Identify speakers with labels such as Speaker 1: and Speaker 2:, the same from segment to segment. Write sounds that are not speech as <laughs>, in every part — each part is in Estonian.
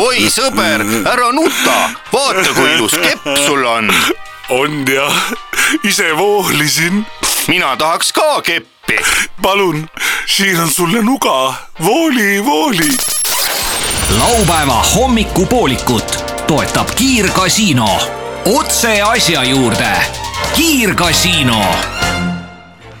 Speaker 1: oi sõber , ära nuta , vaata kui ilus kepp sul on .
Speaker 2: on jah , ise voolisin .
Speaker 1: mina tahaks ka keppi .
Speaker 2: palun , siin on sulle nuga , vooli , vooli
Speaker 3: laupäeva hommikupoolikut toetab Kiirgasiino . otse asja juurde . kiirgasiino .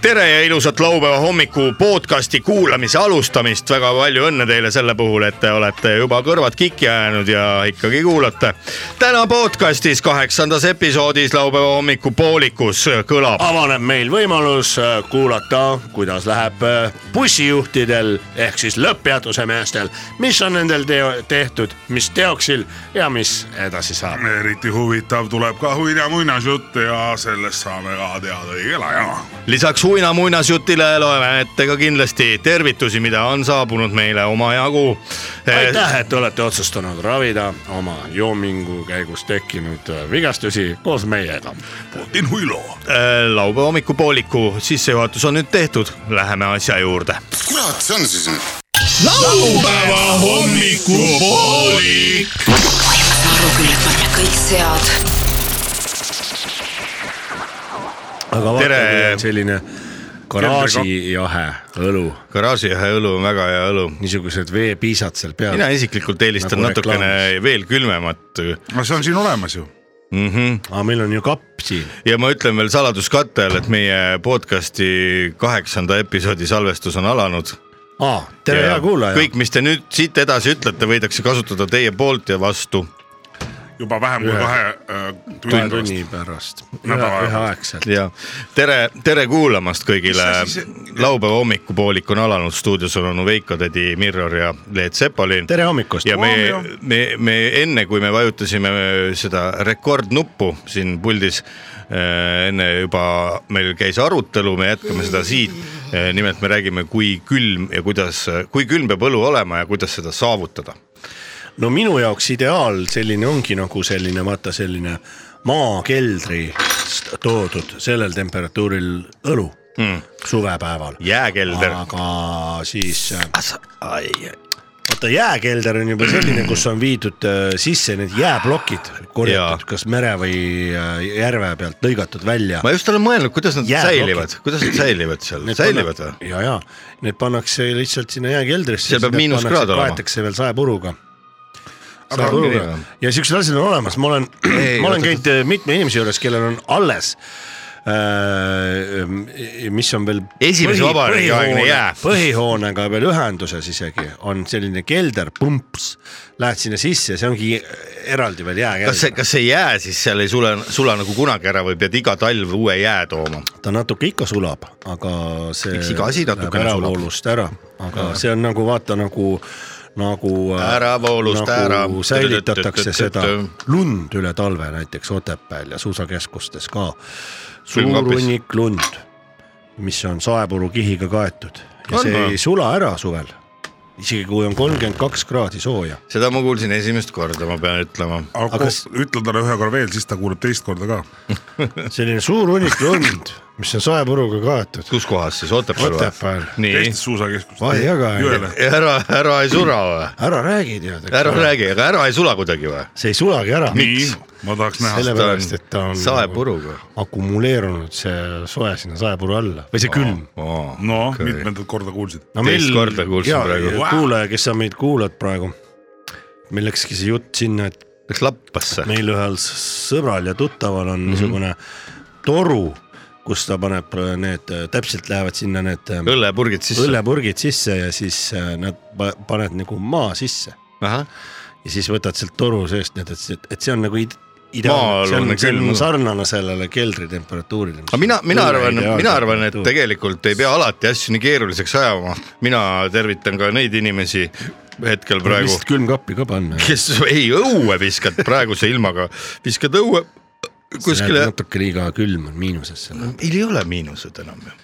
Speaker 4: tere ja ilusat laupäeva hommiku podcasti kuulamise alustamist , väga palju õnne teile selle puhul , et te olete juba kõrvad kikki ajanud ja ikkagi kuulate . täna podcastis kaheksandas episoodis laupäeva hommiku poolikus kõlab .
Speaker 5: avaneb meil võimalus äh, kuulata , kuidas läheb äh, bussijuhtidel ehk siis lõpppeatuse meestel , mis on nendel teo- tehtud , mis teoksil ja mis edasi saab .
Speaker 6: eriti huvitav tuleb ka uina muinasjutte ja sellest saame ka teada õigel ajal .
Speaker 4: lisaks uinamuinasjutile loeme ette ka kindlasti tervitusi , mida on saabunud meile omajagu .
Speaker 5: aitäh , et olete otsustanud ravida oma joomingu käigus tekkinud äh, vigastusi koos meiega .
Speaker 6: Putin huilo .
Speaker 4: Äh, laupäeva hommikupooliku sissejuhatus on nüüd tehtud , läheme asja juurde .
Speaker 7: kurat see on siis nüüd ?
Speaker 6: laupäeva hommikupoolik .
Speaker 8: aru küll , et ma olen kõik sead .
Speaker 5: aga
Speaker 4: Tere!
Speaker 5: vaata , kui on selline garaažijahe õlu ,
Speaker 4: garaažiõhe õlu on väga hea õlu
Speaker 5: niisugused veepiisad seal peal
Speaker 4: mina . isiklikult eelistan
Speaker 5: Nagu
Speaker 4: nagu natukene
Speaker 5: reklaamis.
Speaker 4: veel külmemat
Speaker 6: no see on siin olemas ju .
Speaker 4: mm . -hmm.
Speaker 5: aga meil on ju kapp siin .
Speaker 4: ja ma ütlen veel saladuskatte all , et meie podcast'i kaheksanda episoodi salvestus on alanud .
Speaker 5: aa , tere , hea kuulaja .
Speaker 4: kõik , mis te nüüd siit edasi ütlete , võidakse kasutada teie poolt ja vastu
Speaker 6: juba vähem kui
Speaker 5: Ühe-
Speaker 6: kahe äh,
Speaker 5: kahe
Speaker 6: tunni pärast .
Speaker 5: tunni pärast .
Speaker 6: Nädala ajal.
Speaker 5: üheaegselt .
Speaker 4: ja tere , tere kuulamast kõigile
Speaker 6: Mis asi see- .
Speaker 4: laupäeva hommikupoolik on alanud , stuudios on onu Veiko , tädi Mirror ja Leet Sepolin .
Speaker 5: tere hommikust .
Speaker 4: ja me
Speaker 6: Hommio. ,
Speaker 4: me , me enne , kui me vajutasime seda rekordnuppu siin puldis , enne juba meil käis arutelu , me jätkame seda siit . nimelt me räägime , kui külm ja kuidas , kui külm peab õlu olema ja kuidas seda saavutada .
Speaker 5: no minu jaoks ideaal selline ongi nagu selline vaata selline maakeldri toodud sellel temperatuuril õlu mm. suvepäeval .
Speaker 4: Hmm. jääkelder ,
Speaker 5: aga siis äh, vaata jääkelder on juba selline , kus on viidud äh, sisse need jääplokid
Speaker 4: Jaa.
Speaker 5: korjatud kas mere või äh, järve pealt lõigatud välja .
Speaker 4: ma just olen mõelnud , kuidas nad
Speaker 5: Jääplokid.
Speaker 4: säilivad , kuidas nad säilivad seal , säilivad või ?
Speaker 5: ja , ja need pannakse lihtsalt sinna jääkeldrisse .
Speaker 4: Seal peab miinuskraad olema.
Speaker 5: kaetakse veel saepuruga .
Speaker 4: nii,
Speaker 5: saepuruga
Speaker 4: jah.
Speaker 5: ja siuksed asjad on olemas , ma olen , <clears throat> ma olen käinud äh, mitme inimese juures , kellel on alles äh, mis on veel .
Speaker 4: Esimese vabariigi aegne jää.
Speaker 5: põhihoonega veel ühenduses isegi on selline kelder , pumps , lähed sinna sisse , see ongi eraldi
Speaker 4: kas
Speaker 5: veel
Speaker 4: see ,
Speaker 5: jääkelder ,
Speaker 4: kas see jää siis seal ei sule , sula nagu kunagi ära või pead iga talv uue jää tooma ?
Speaker 5: ta natuke ikka sulab , aga see .
Speaker 4: Eks iga asi natukene sulab.
Speaker 5: äravoolust ära , aga see on nagu vaata nagu , nagu .
Speaker 4: Äravoolust ära.
Speaker 5: säilitatakse seda
Speaker 4: Tü-tü-tü-tü-tü.
Speaker 5: lund üle talve näiteks Otepääl ja suusakeskustes ka . suur
Speaker 4: Külmkapis.
Speaker 5: hunnik lund , mis on saepurukihiga kaetud ja
Speaker 4: On
Speaker 5: see
Speaker 4: või?
Speaker 5: ei sula ära suvel , isegi kui on kolmkümmend kaks kraadi sooja .
Speaker 4: seda ma kuulsin esimest korda , ma pean ütlema .
Speaker 6: aga
Speaker 5: Aga
Speaker 6: kui
Speaker 5: kas-
Speaker 6: ütle talle ühe korra veel , siis ta kuuleb teist korda ka .
Speaker 5: selline suur hunnik lund , mis on saepuruga kaetud ,
Speaker 4: kus kohas siis , Otepääl või
Speaker 5: Otepääl. ?
Speaker 4: nii
Speaker 6: Eestis . suusakeskus .
Speaker 5: Vai jaga.
Speaker 6: jõele .
Speaker 4: ära , ära ei sura või ?
Speaker 5: ära räägi tead ,
Speaker 4: ära räägi , aga ära ei sula kuidagi või ?
Speaker 5: see ei sulagi ära .
Speaker 6: nii , ma tahaks näha
Speaker 5: Selle-
Speaker 6: seda .
Speaker 5: Sellepärast, et ta on-
Speaker 4: saepuruga .
Speaker 5: akumuleerunud see soe sinna saepuru alla või see külm .
Speaker 6: no okay. mitmendat korda kuulsid .
Speaker 5: no
Speaker 4: teist korda kuulsin praegu.
Speaker 5: kuulaja , kes sa meid kuulad praegu , meil läkski see jutt sinna , et
Speaker 4: Läks lappasse .
Speaker 5: meil ühel s- sõbral ja tuttaval
Speaker 4: Mhm.
Speaker 5: on niisugune toru , kus ta paneb need , täpselt lähevad sinna need äh,
Speaker 4: õllepurgid sisse .
Speaker 5: õllepurgid sisse ja siis äh, nad pa- paned nagu maa sisse ja siis võtad sealt toru seest need , et , et see on nagu id-
Speaker 4: Maal
Speaker 5: ideaalne , see
Speaker 4: on
Speaker 5: on , see
Speaker 4: külm.
Speaker 5: on sarnane sellele keldritemperatuurile .
Speaker 4: aga mina , mina arvan , mina arvan , et tegelikult ei pea alati asju nii keeruliseks ajama . mina tervitan ka neid inimesi hetkel praegu ,
Speaker 5: lihtsalt külmkappi ka panna .
Speaker 4: kes ei õue viskad praeguse ilmaga , viskad õue kuskile .
Speaker 5: natuke liiga külm on miinuses seal ,
Speaker 4: meil ei ole miinused enam ju .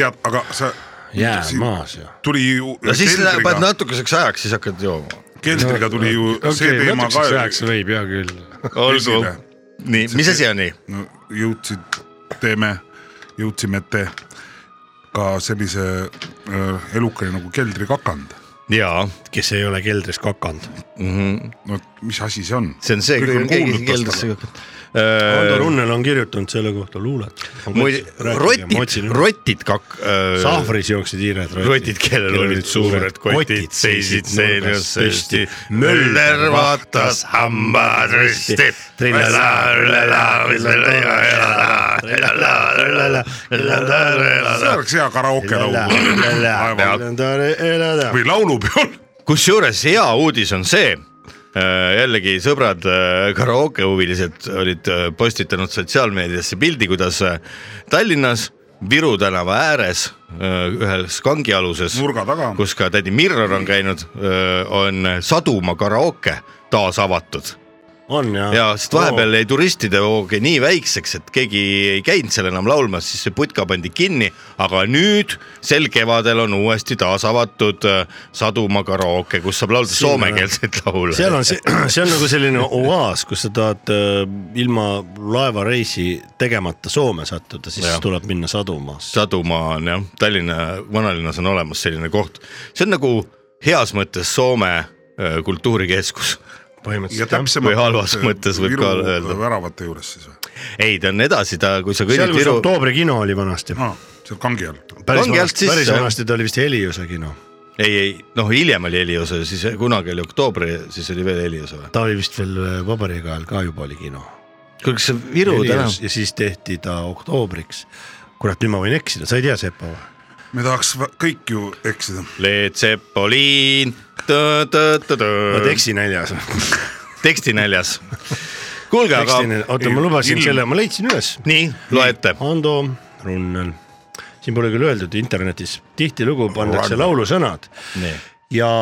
Speaker 6: tead , aga sa
Speaker 5: jää
Speaker 6: Siin-
Speaker 5: maas ju .
Speaker 6: tuli ju .
Speaker 4: no siis läheb- paned natukeseks ajaks , siis hakkad jooma .
Speaker 6: keldriga tuli ju see teema ka .
Speaker 5: võib hea küll .
Speaker 4: olgu
Speaker 6: Tõsine. .
Speaker 4: nii , mis asi on nii ?
Speaker 6: no jõudsid , teeme , jõudsime , et ka sellise äh, elukani nagu keldrikakand .
Speaker 4: jaa ,
Speaker 5: kes ei ole keldris kakanud .
Speaker 6: no et mis asi see on ?
Speaker 4: see on see ,
Speaker 6: Kõik
Speaker 4: kui
Speaker 6: on
Speaker 4: keegi
Speaker 6: kuulnud
Speaker 4: keldrisse
Speaker 6: tast,
Speaker 4: kukub .
Speaker 5: Ando Runnel on kirjutanud selle kohta luulet .
Speaker 4: Äh, muid , rotid , rotid kak- .
Speaker 5: sahvris jooksid hiired
Speaker 4: rotid , kellel olid suured kotid , seisid seljas püsti . Möller vaatas hambad risti .
Speaker 6: see oleks hea karaoke laul . või laulupeol .
Speaker 4: kusjuures hea uudis on see , jällegi sõbrad äh, karaokehuvilised olid äh, postitanud sotsiaalmeediasse pildi , kuidas äh, Tallinnas Viru tänava ääres äh, ühes kangialuses ,
Speaker 6: Nurga taga.
Speaker 4: kus ka tädi Mirror on käinud , on Sadumaa karaoke taas avatud
Speaker 5: on jah .
Speaker 4: ja sest vahepeal jäi turistide voog nii väikseks , et keegi ei käinud seal enam laulmas , siis see putka pandi kinni , aga nüüd sel kevadel on uuesti taas avatud äh, Sadumaa karaoke , kus saab laulda
Speaker 5: Sinna-
Speaker 4: soomekeelseid laule .
Speaker 5: <clears throat> seal on see , see on nagu selline oaas , kus sa tahad äh, ilma laevareisi tegemata Soome sattuda , siis
Speaker 4: Jah.
Speaker 5: ja. tuleb minna sadumaasse .
Speaker 4: Sadumaa on jah , Tallinna vanalinnas on olemas selline koht , see on nagu heas mõttes Soome äh, kultuurikeskus .
Speaker 6: ja
Speaker 5: põhimõtteliselt jah .
Speaker 4: Või
Speaker 6: täpsemalt . äh,
Speaker 4: halvas mõttes võib ka öelda.
Speaker 6: väravate juures siis või ?
Speaker 4: ei , ta on edasi , ta , kui sa kõnnid
Speaker 5: seal , kus
Speaker 4: Viru ,
Speaker 5: Oktoobri kino oli vanasti .
Speaker 6: aa , seal kangi all .
Speaker 5: päris
Speaker 4: Kangi alt
Speaker 5: vanasti ,
Speaker 4: sisse.
Speaker 5: päris vanasti ta oli vist Heliuse kino .
Speaker 4: ei , ei noh , hiljem oli Heliosa , siis kunagi oli Oktoobri , siis oli veel Heliosa või ?
Speaker 5: ta oli vist veel äh, vabariigi ajal ka juba oli kino .
Speaker 4: kuule , kas see Viru tänav
Speaker 5: ja siis tehti ta oktoobriks . kurat , nüüd ma võin eksida , sa ei tea , Sepo või ?
Speaker 6: me tahaks vä- kõik ju eksida .
Speaker 4: Led Zeppelin .
Speaker 5: ma
Speaker 4: Äh.
Speaker 5: teksin näljas . <laughs>
Speaker 4: tekstinäljas . kuulge , aga
Speaker 5: oota , ma lubasin
Speaker 6: ilm-
Speaker 5: selle , ma leidsin üles
Speaker 4: nii loete .
Speaker 5: Ando Runnel , siin pole küll öeldud internetis , tihtilugu pannakse
Speaker 6: Runnel.
Speaker 5: laulusõnad ja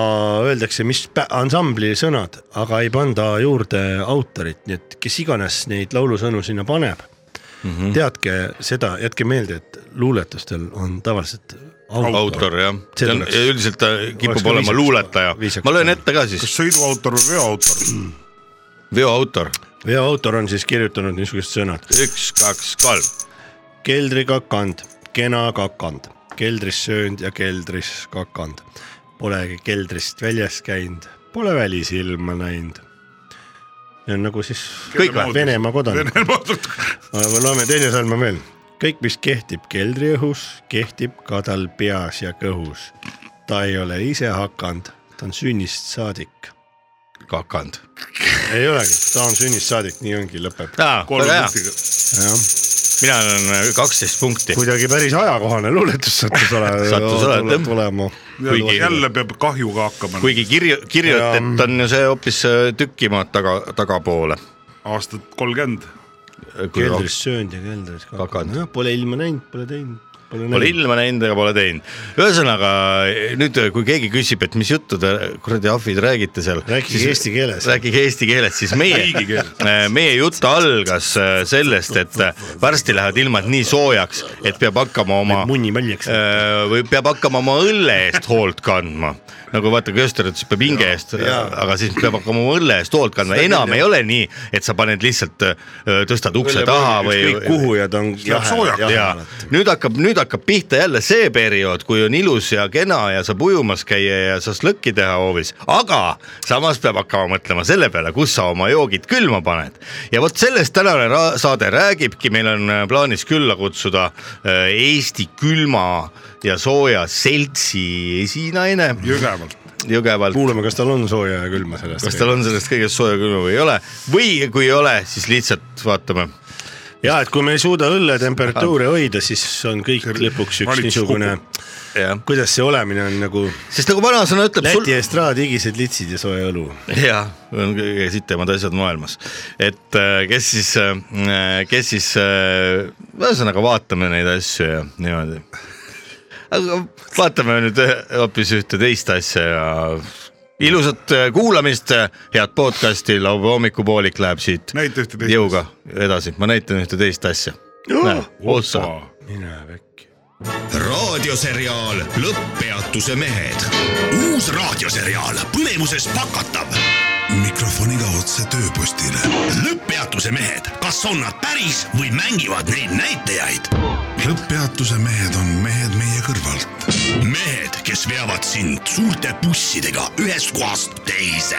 Speaker 5: öeldakse , mis pä- ansambli sõnad , aga ei panda juurde autorit , nii et kes iganes neid laulusõnu sinna paneb mm ,
Speaker 4: Mhm.
Speaker 5: -hmm. teadke seda , jätke meelde , et luuletustel on tavaliselt autor,
Speaker 4: autor jah ,
Speaker 5: See
Speaker 4: see on
Speaker 5: tuleks-
Speaker 4: üldiselt ta
Speaker 5: oleks
Speaker 4: kipub
Speaker 5: ka
Speaker 4: olema
Speaker 5: viisakas-
Speaker 4: luuletaja
Speaker 5: viisakas- .
Speaker 4: ma löön ette ka siis ,
Speaker 6: kas sõiduautor või veoautor ?
Speaker 4: <laughs> veo autor ,
Speaker 5: ja autor on siis kirjutanud niisugused sõnad .
Speaker 4: üks , kaks , kolm .
Speaker 5: keldrikakand , kena kakand , keldris söönud ja keldris kakand . Pole keldrist väljas käinud , pole välisilma näinud . ja nagu siis
Speaker 4: Kõik või?
Speaker 5: Venemaa kodanik , loeme teine salm on veel . kõik , mis kehtib keldriõhus , kehtib ka tal peas ja kõhus . ta ei ole ise hakanud , ta on sünnist saadik .
Speaker 4: kakand .
Speaker 5: ei olegi , ta on sünnist saadik , nii ongi , lõpeb .
Speaker 4: väga hea ,
Speaker 5: jah ,
Speaker 4: mina olen kaksteist punkti .
Speaker 5: kuidagi päris ajakohane luuletus sattus ole-
Speaker 4: <laughs> Sattus ole-
Speaker 5: tule- tulema .
Speaker 4: Kuigi-
Speaker 6: jälle peab kahjuga hakkama kui... .
Speaker 4: kuigi kirju- , kirjutet on ju see hoopis tüki maad taga , tagapoole . Äh,
Speaker 6: aastat kolmkümmend .
Speaker 5: keldris söönud ja keldris kakanud
Speaker 4: Kakanud. ,
Speaker 5: jah , pole ilma näinud , pole teinud , pole
Speaker 4: Pole
Speaker 5: näinud .
Speaker 4: ilma näinud ega pole teinud . ühesõnaga nüüd , kui keegi küsib , et mis juttu te kuradi ahvid räägite seal .
Speaker 5: Rääkige eesti keeles.
Speaker 4: rääkige eesti keeles , siis
Speaker 5: <laughs>
Speaker 4: meie , meie jutt algas äh, sellest , et äh, varsti lähevad ilmad nii soojaks , et peab hakkama oma
Speaker 5: munni väljaks
Speaker 4: äh, või peab hakkama oma õlle eest hoolt kandma . nagu vaata , Köster ütles , peab hinge eest , aga siis peab hakkama oma õlle eest hoolt kandma , enam ei ole nii , et sa paned lihtsalt , tõstad ukse taha või .
Speaker 5: kõik kuhu ja ta on
Speaker 6: läheb soojaks.
Speaker 4: ja nüüd hakkab , nüüd hakkab pihta jälle see periood , kui on ilus ja kena ja saab ujumas käia ja šašlõkki teha hoovis , aga samas peab hakkama mõtlema selle peale , kus sa oma joogid külma paned . ja vot sellest tänane ra- saade räägibki , meil on äh, plaanis külla kutsuda äh, Eesti külma ja sooja seltsi esinaine
Speaker 6: Jõgevalt .
Speaker 4: Jõgevalt .
Speaker 5: kuulame , kas tal on sooja ja külma sellest .
Speaker 4: kas tal on sellest kõigest sooja külma või ei ole või kui ei ole , siis lihtsalt vaatame
Speaker 5: ja et kui me ei suuda õlle temperatuuri hoida , siis on kõik lõpuks üks
Speaker 6: valitsus
Speaker 5: niisugune ,
Speaker 4: jah ,
Speaker 5: kuidas see olemine on nagu
Speaker 4: sest nagu vanasõna ütleb .
Speaker 5: Läti estraad , higised litsid ja soe õlu .
Speaker 4: <laughs> jah , on kõige sitemad asjad maailmas , et äh, kes siis , kes siis , ühesõnaga vaatame neid asju ja niimoodi . aga vaatame nüüd ühe- hoopis ühte teist asja ja ilusat äh, kuulamist , head podcast'i , laupäeva hommikupoolik läheb siit
Speaker 6: näita ühte teist .
Speaker 4: jõuga edasi , ma näitan ühte teist asja . otsa
Speaker 5: mine väkki .
Speaker 7: raadioseriaal Lõpppeatuse mehed . uus raadioseriaal põnevuses pakatav .
Speaker 6: mikrofoniga otse tööpostile .
Speaker 9: lõpppeatuse mehed , kas on nad päris või mängivad neid näitajaid ?
Speaker 6: lõpppeatuse mehed on mehed meie kõrvalt .
Speaker 9: mehed , kes veavad sind suurte bussidega ühest kohast teise .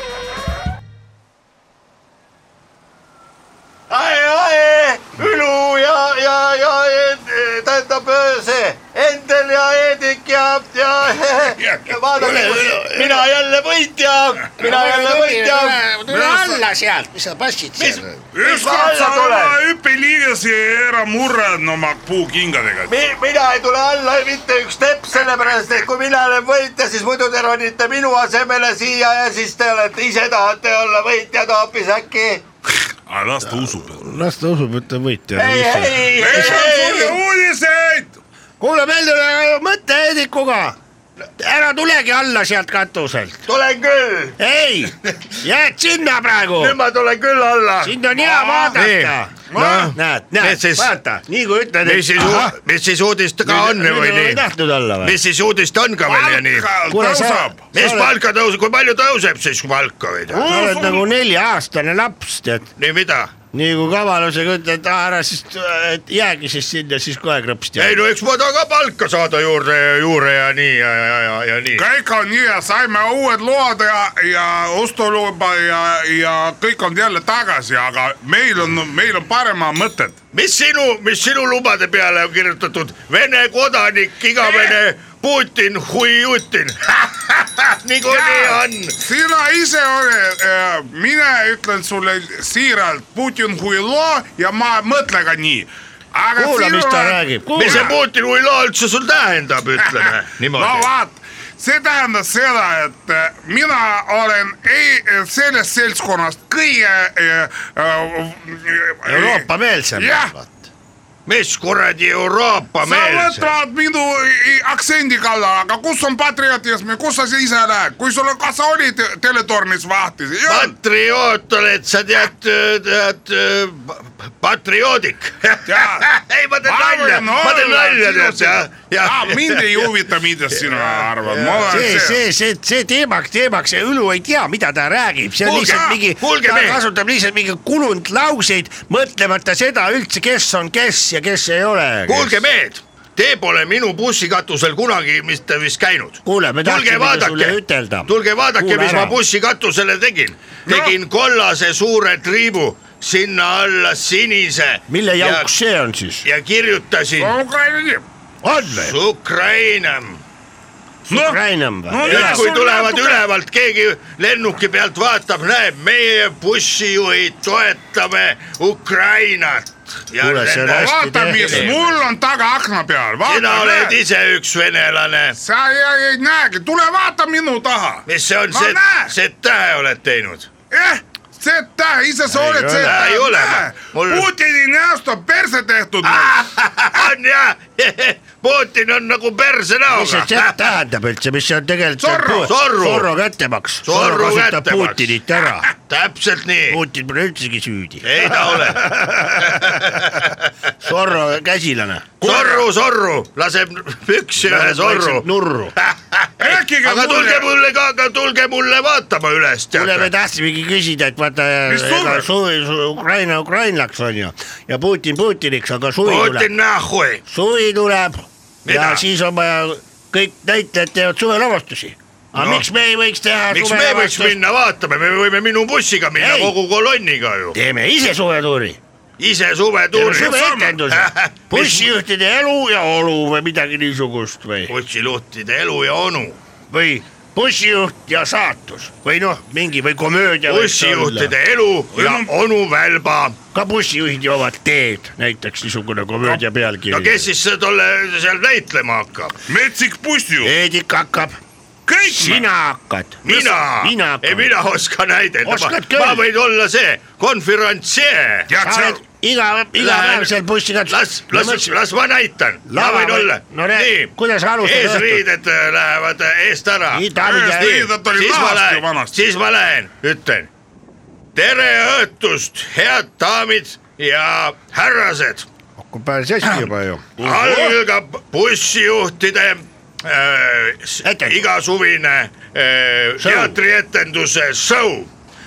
Speaker 3: ai , ai , Ülu ja , ja , ja Ed- tähendab see Endel ja Eedik ja , ja, <laughs> ja vaadake , mina jälle võitja , mina jälle võitja .
Speaker 5: tule alla sealt , mis sa passid seal .
Speaker 3: alla
Speaker 6: ükskord sa
Speaker 3: tuleb?
Speaker 6: oma hüppeliigesi ära murrad oma puukingadega .
Speaker 3: mina ei tule alla mitte üks tepp , sellepärast et kui mina olen võitja , siis muidu te ronite minu asemele siia ja siis te olete ise tahate olla võitjad hoopis äkki .
Speaker 6: aga las ta usub .
Speaker 10: las ta usub , et ta on võitja .
Speaker 3: ei , ei ,
Speaker 6: meil on sulle
Speaker 3: ei ,
Speaker 6: uudiseid .
Speaker 5: kuule , meil tuli mõte Heidikuga . ära tulegi alla sealt katuselt .
Speaker 3: tulen küll ,
Speaker 5: ei , jääd sinna praegu .
Speaker 3: nüüd ma tulen küll alla .
Speaker 5: sind on hea vaadata .
Speaker 11: Noh,
Speaker 5: näed ,
Speaker 11: need
Speaker 5: näed
Speaker 11: siis- ,
Speaker 5: vaata , nii kui ütled ,
Speaker 11: mis siis , mis siis uudist ka on või
Speaker 5: ei
Speaker 11: nii ?
Speaker 5: tahtnud alla või ?
Speaker 11: mis siis uudist on ka veel ja nii ?
Speaker 5: kuule , sa ,
Speaker 11: mis palka tõuseb , kui palju tõuseb siis palka või ?
Speaker 5: sa oled nagu nelja-aastane laps , tead .
Speaker 11: nii mida ?
Speaker 5: nii kui kavalusega ütled , et aa, ära siis , et jäägi siis sinna , siis kohe krõpsti .
Speaker 11: ei no eks ma tahan ka palka saada juurde ja juurde ja nii ja , ja , ja , ja nii .
Speaker 6: kõik on nii ja saime uued load ja , ja ostuluba ja , ja kõik on jälle tagasi , aga meil on , meil on parema mõtted .
Speaker 11: mis sinu , mis sinu lubade peale on kirjutatud Vene kodanik , igavene Putin , huiutin . <laughs> niikuinii on .
Speaker 6: sina ise oled äh, , mina ütlen sulle siiralt , Putin huilo ja ma ei mõtle ka nii .
Speaker 5: kuula , mis ta räägib .
Speaker 11: mis see Putin huilo üldse sul tähendab , ütleme
Speaker 6: no
Speaker 11: niimoodi .
Speaker 6: vaat , see tähendab seda , et äh, mina olen ei, sellest seltskonnast kõige äh, . Äh,
Speaker 5: Euroopa meelsem .
Speaker 6: jah ,
Speaker 11: mis kuradi
Speaker 6: sa
Speaker 11: Euroopa mees .
Speaker 6: võtad minu i- aktsendi kallale , aga kus on patriotism ja kus sa siis ise lähed , kui sul on , kas sa olid teletornis vahtis ?
Speaker 11: patrioot oled sa tead , tead äh, patrioodik . <laughs> Äh, ei , ma teen nalja , ma teen nalja tead jah , jah .
Speaker 6: Ah, mind ei huvita ,
Speaker 11: <laughs>
Speaker 6: mida sina arvad , ma olen
Speaker 5: see ,
Speaker 6: see .
Speaker 5: see , see , see teemaks , teemaks , see Õlu ei tea , mida ta räägib , see on
Speaker 11: Kuulge,
Speaker 5: lihtsalt mingi ,
Speaker 11: kuulge,
Speaker 5: ta
Speaker 11: mehed.
Speaker 5: kasutab lihtsalt mingi kulunud lauseid , mõtlemata seda üldse , kes on kes ja kes ei ole .
Speaker 11: kuulge mehed , te pole minu bussikatusel kunagi mitte vist käinud .
Speaker 5: Kuule, me tahtsime sulle ütelda.
Speaker 11: tulge vaadake ,
Speaker 5: Kuule
Speaker 11: mis
Speaker 5: ära.
Speaker 11: ma bussikatusele tegin , tegin kollase suure triibu , sinna alla sinise .
Speaker 5: mille jaoks ? see on siis ?
Speaker 11: ja kirjutasin
Speaker 5: on või ?
Speaker 11: Ukraina .
Speaker 5: Ukrainam või ?
Speaker 11: nüüd , kui tulevad ülevalt keegi lennuki pealt vaatab , näeb , meie bussijuhid toetame Ukrainat .
Speaker 5: Kuule, see on hästi
Speaker 6: vaata , mis
Speaker 5: tehtud.
Speaker 6: mul on tagaakna peal ,
Speaker 11: sina
Speaker 6: vaata
Speaker 11: oled , ise üks venelane
Speaker 6: sa ei, ei näegi , tule vaata minu taha .
Speaker 11: mis see on ,
Speaker 6: Ma
Speaker 11: see
Speaker 6: näen! ,
Speaker 11: see tähe oled teinud .
Speaker 6: jah , Z-tähe , ise sa oled
Speaker 11: ole.
Speaker 6: Z-tähe .
Speaker 11: Ei ole, mul- Ah!
Speaker 6: Putini näost on perse tehtud .
Speaker 11: on jah , <laughs> Putin on nagu perse
Speaker 5: mis see
Speaker 11: näoga .
Speaker 5: Z tähendab üldse , mis see on
Speaker 11: Sorro,
Speaker 5: tegelikult ?
Speaker 11: sorru.
Speaker 5: sorro kättemaks .
Speaker 11: Sorru
Speaker 5: sorro kasutab
Speaker 11: kättemaks.
Speaker 5: Putinit ära .
Speaker 11: täpselt nii ,
Speaker 5: Putin pole üldsegi süüdi .
Speaker 11: ei ta ole .
Speaker 5: <laughs> sorro käsilane .
Speaker 11: sorru , sorru , laseb püksi ühe sorru .
Speaker 5: nurru .
Speaker 6: Rääkige
Speaker 11: aga
Speaker 6: mulle.
Speaker 11: tulge mulle ka , aga tulge mulle vaatama üles ,
Speaker 5: kuule , me
Speaker 11: teate .
Speaker 5: tahtsimegi küsida , et vaata ,
Speaker 6: Mis
Speaker 5: ega
Speaker 6: surve?
Speaker 5: suvi , Ukraina ukrainlaks on ju ja Putin Putiniks , aga suvi
Speaker 11: Putin
Speaker 5: tuleb ,
Speaker 11: nahui ,
Speaker 5: suvi tuleb
Speaker 11: Mida?
Speaker 5: ja siis on vaja , kõik näitlejad teevad suvelavastusi . aga
Speaker 11: No.
Speaker 5: no. miks me ei võiks teha
Speaker 11: miks me võiks ? minna vaatama , me võime minu bussiga minna
Speaker 5: Ei.
Speaker 11: kogu kolonniga ju ,
Speaker 5: teeme ise suvetuuri ,
Speaker 11: ise
Speaker 5: teeme
Speaker 11: suvetuuri . <laughs>
Speaker 5: suveetenduse , bussijuhtide elu ja olu või midagi niisugust või ,
Speaker 11: bussiluhtide elu ja onu ,
Speaker 5: või bussijuht ja saatus või noh , mingi või komöödia .
Speaker 11: bussijuhtide elu ja onu välba
Speaker 5: ka bussijuhid joovad teed , näiteks niisugune komöödia pealkiri
Speaker 11: no kes siis see tolle seal näitlema hakkab ?
Speaker 6: metsik bussjuht .
Speaker 5: Eedik hakkab ,
Speaker 6: kõik
Speaker 5: sina hakkad .
Speaker 11: mina,
Speaker 5: mina hakkan.
Speaker 11: ei mina oskan näidata
Speaker 5: Oskad , küll.
Speaker 11: ma võin olla see konverantsee .
Speaker 6: tead
Speaker 5: sa
Speaker 6: sa
Speaker 5: oled ,
Speaker 9: iga , iga päev seal bussikatse .
Speaker 11: las , las , las ma näitan , ma
Speaker 9: Lava
Speaker 11: võin
Speaker 9: või-
Speaker 11: olla .
Speaker 9: no näe- kuidas alustada õhtut?
Speaker 11: eesriided äh, lähevad äh, eest ära .
Speaker 9: Itaalia- Eesriided olid lahast ju vanasti.
Speaker 11: siis ma lähen , ütlen tere õhtust , head daamid ja härrased .
Speaker 9: hakkab päris hästi juba ju .
Speaker 11: algab bussijuhtide äh, igasuvine äh, teatrietenduse show .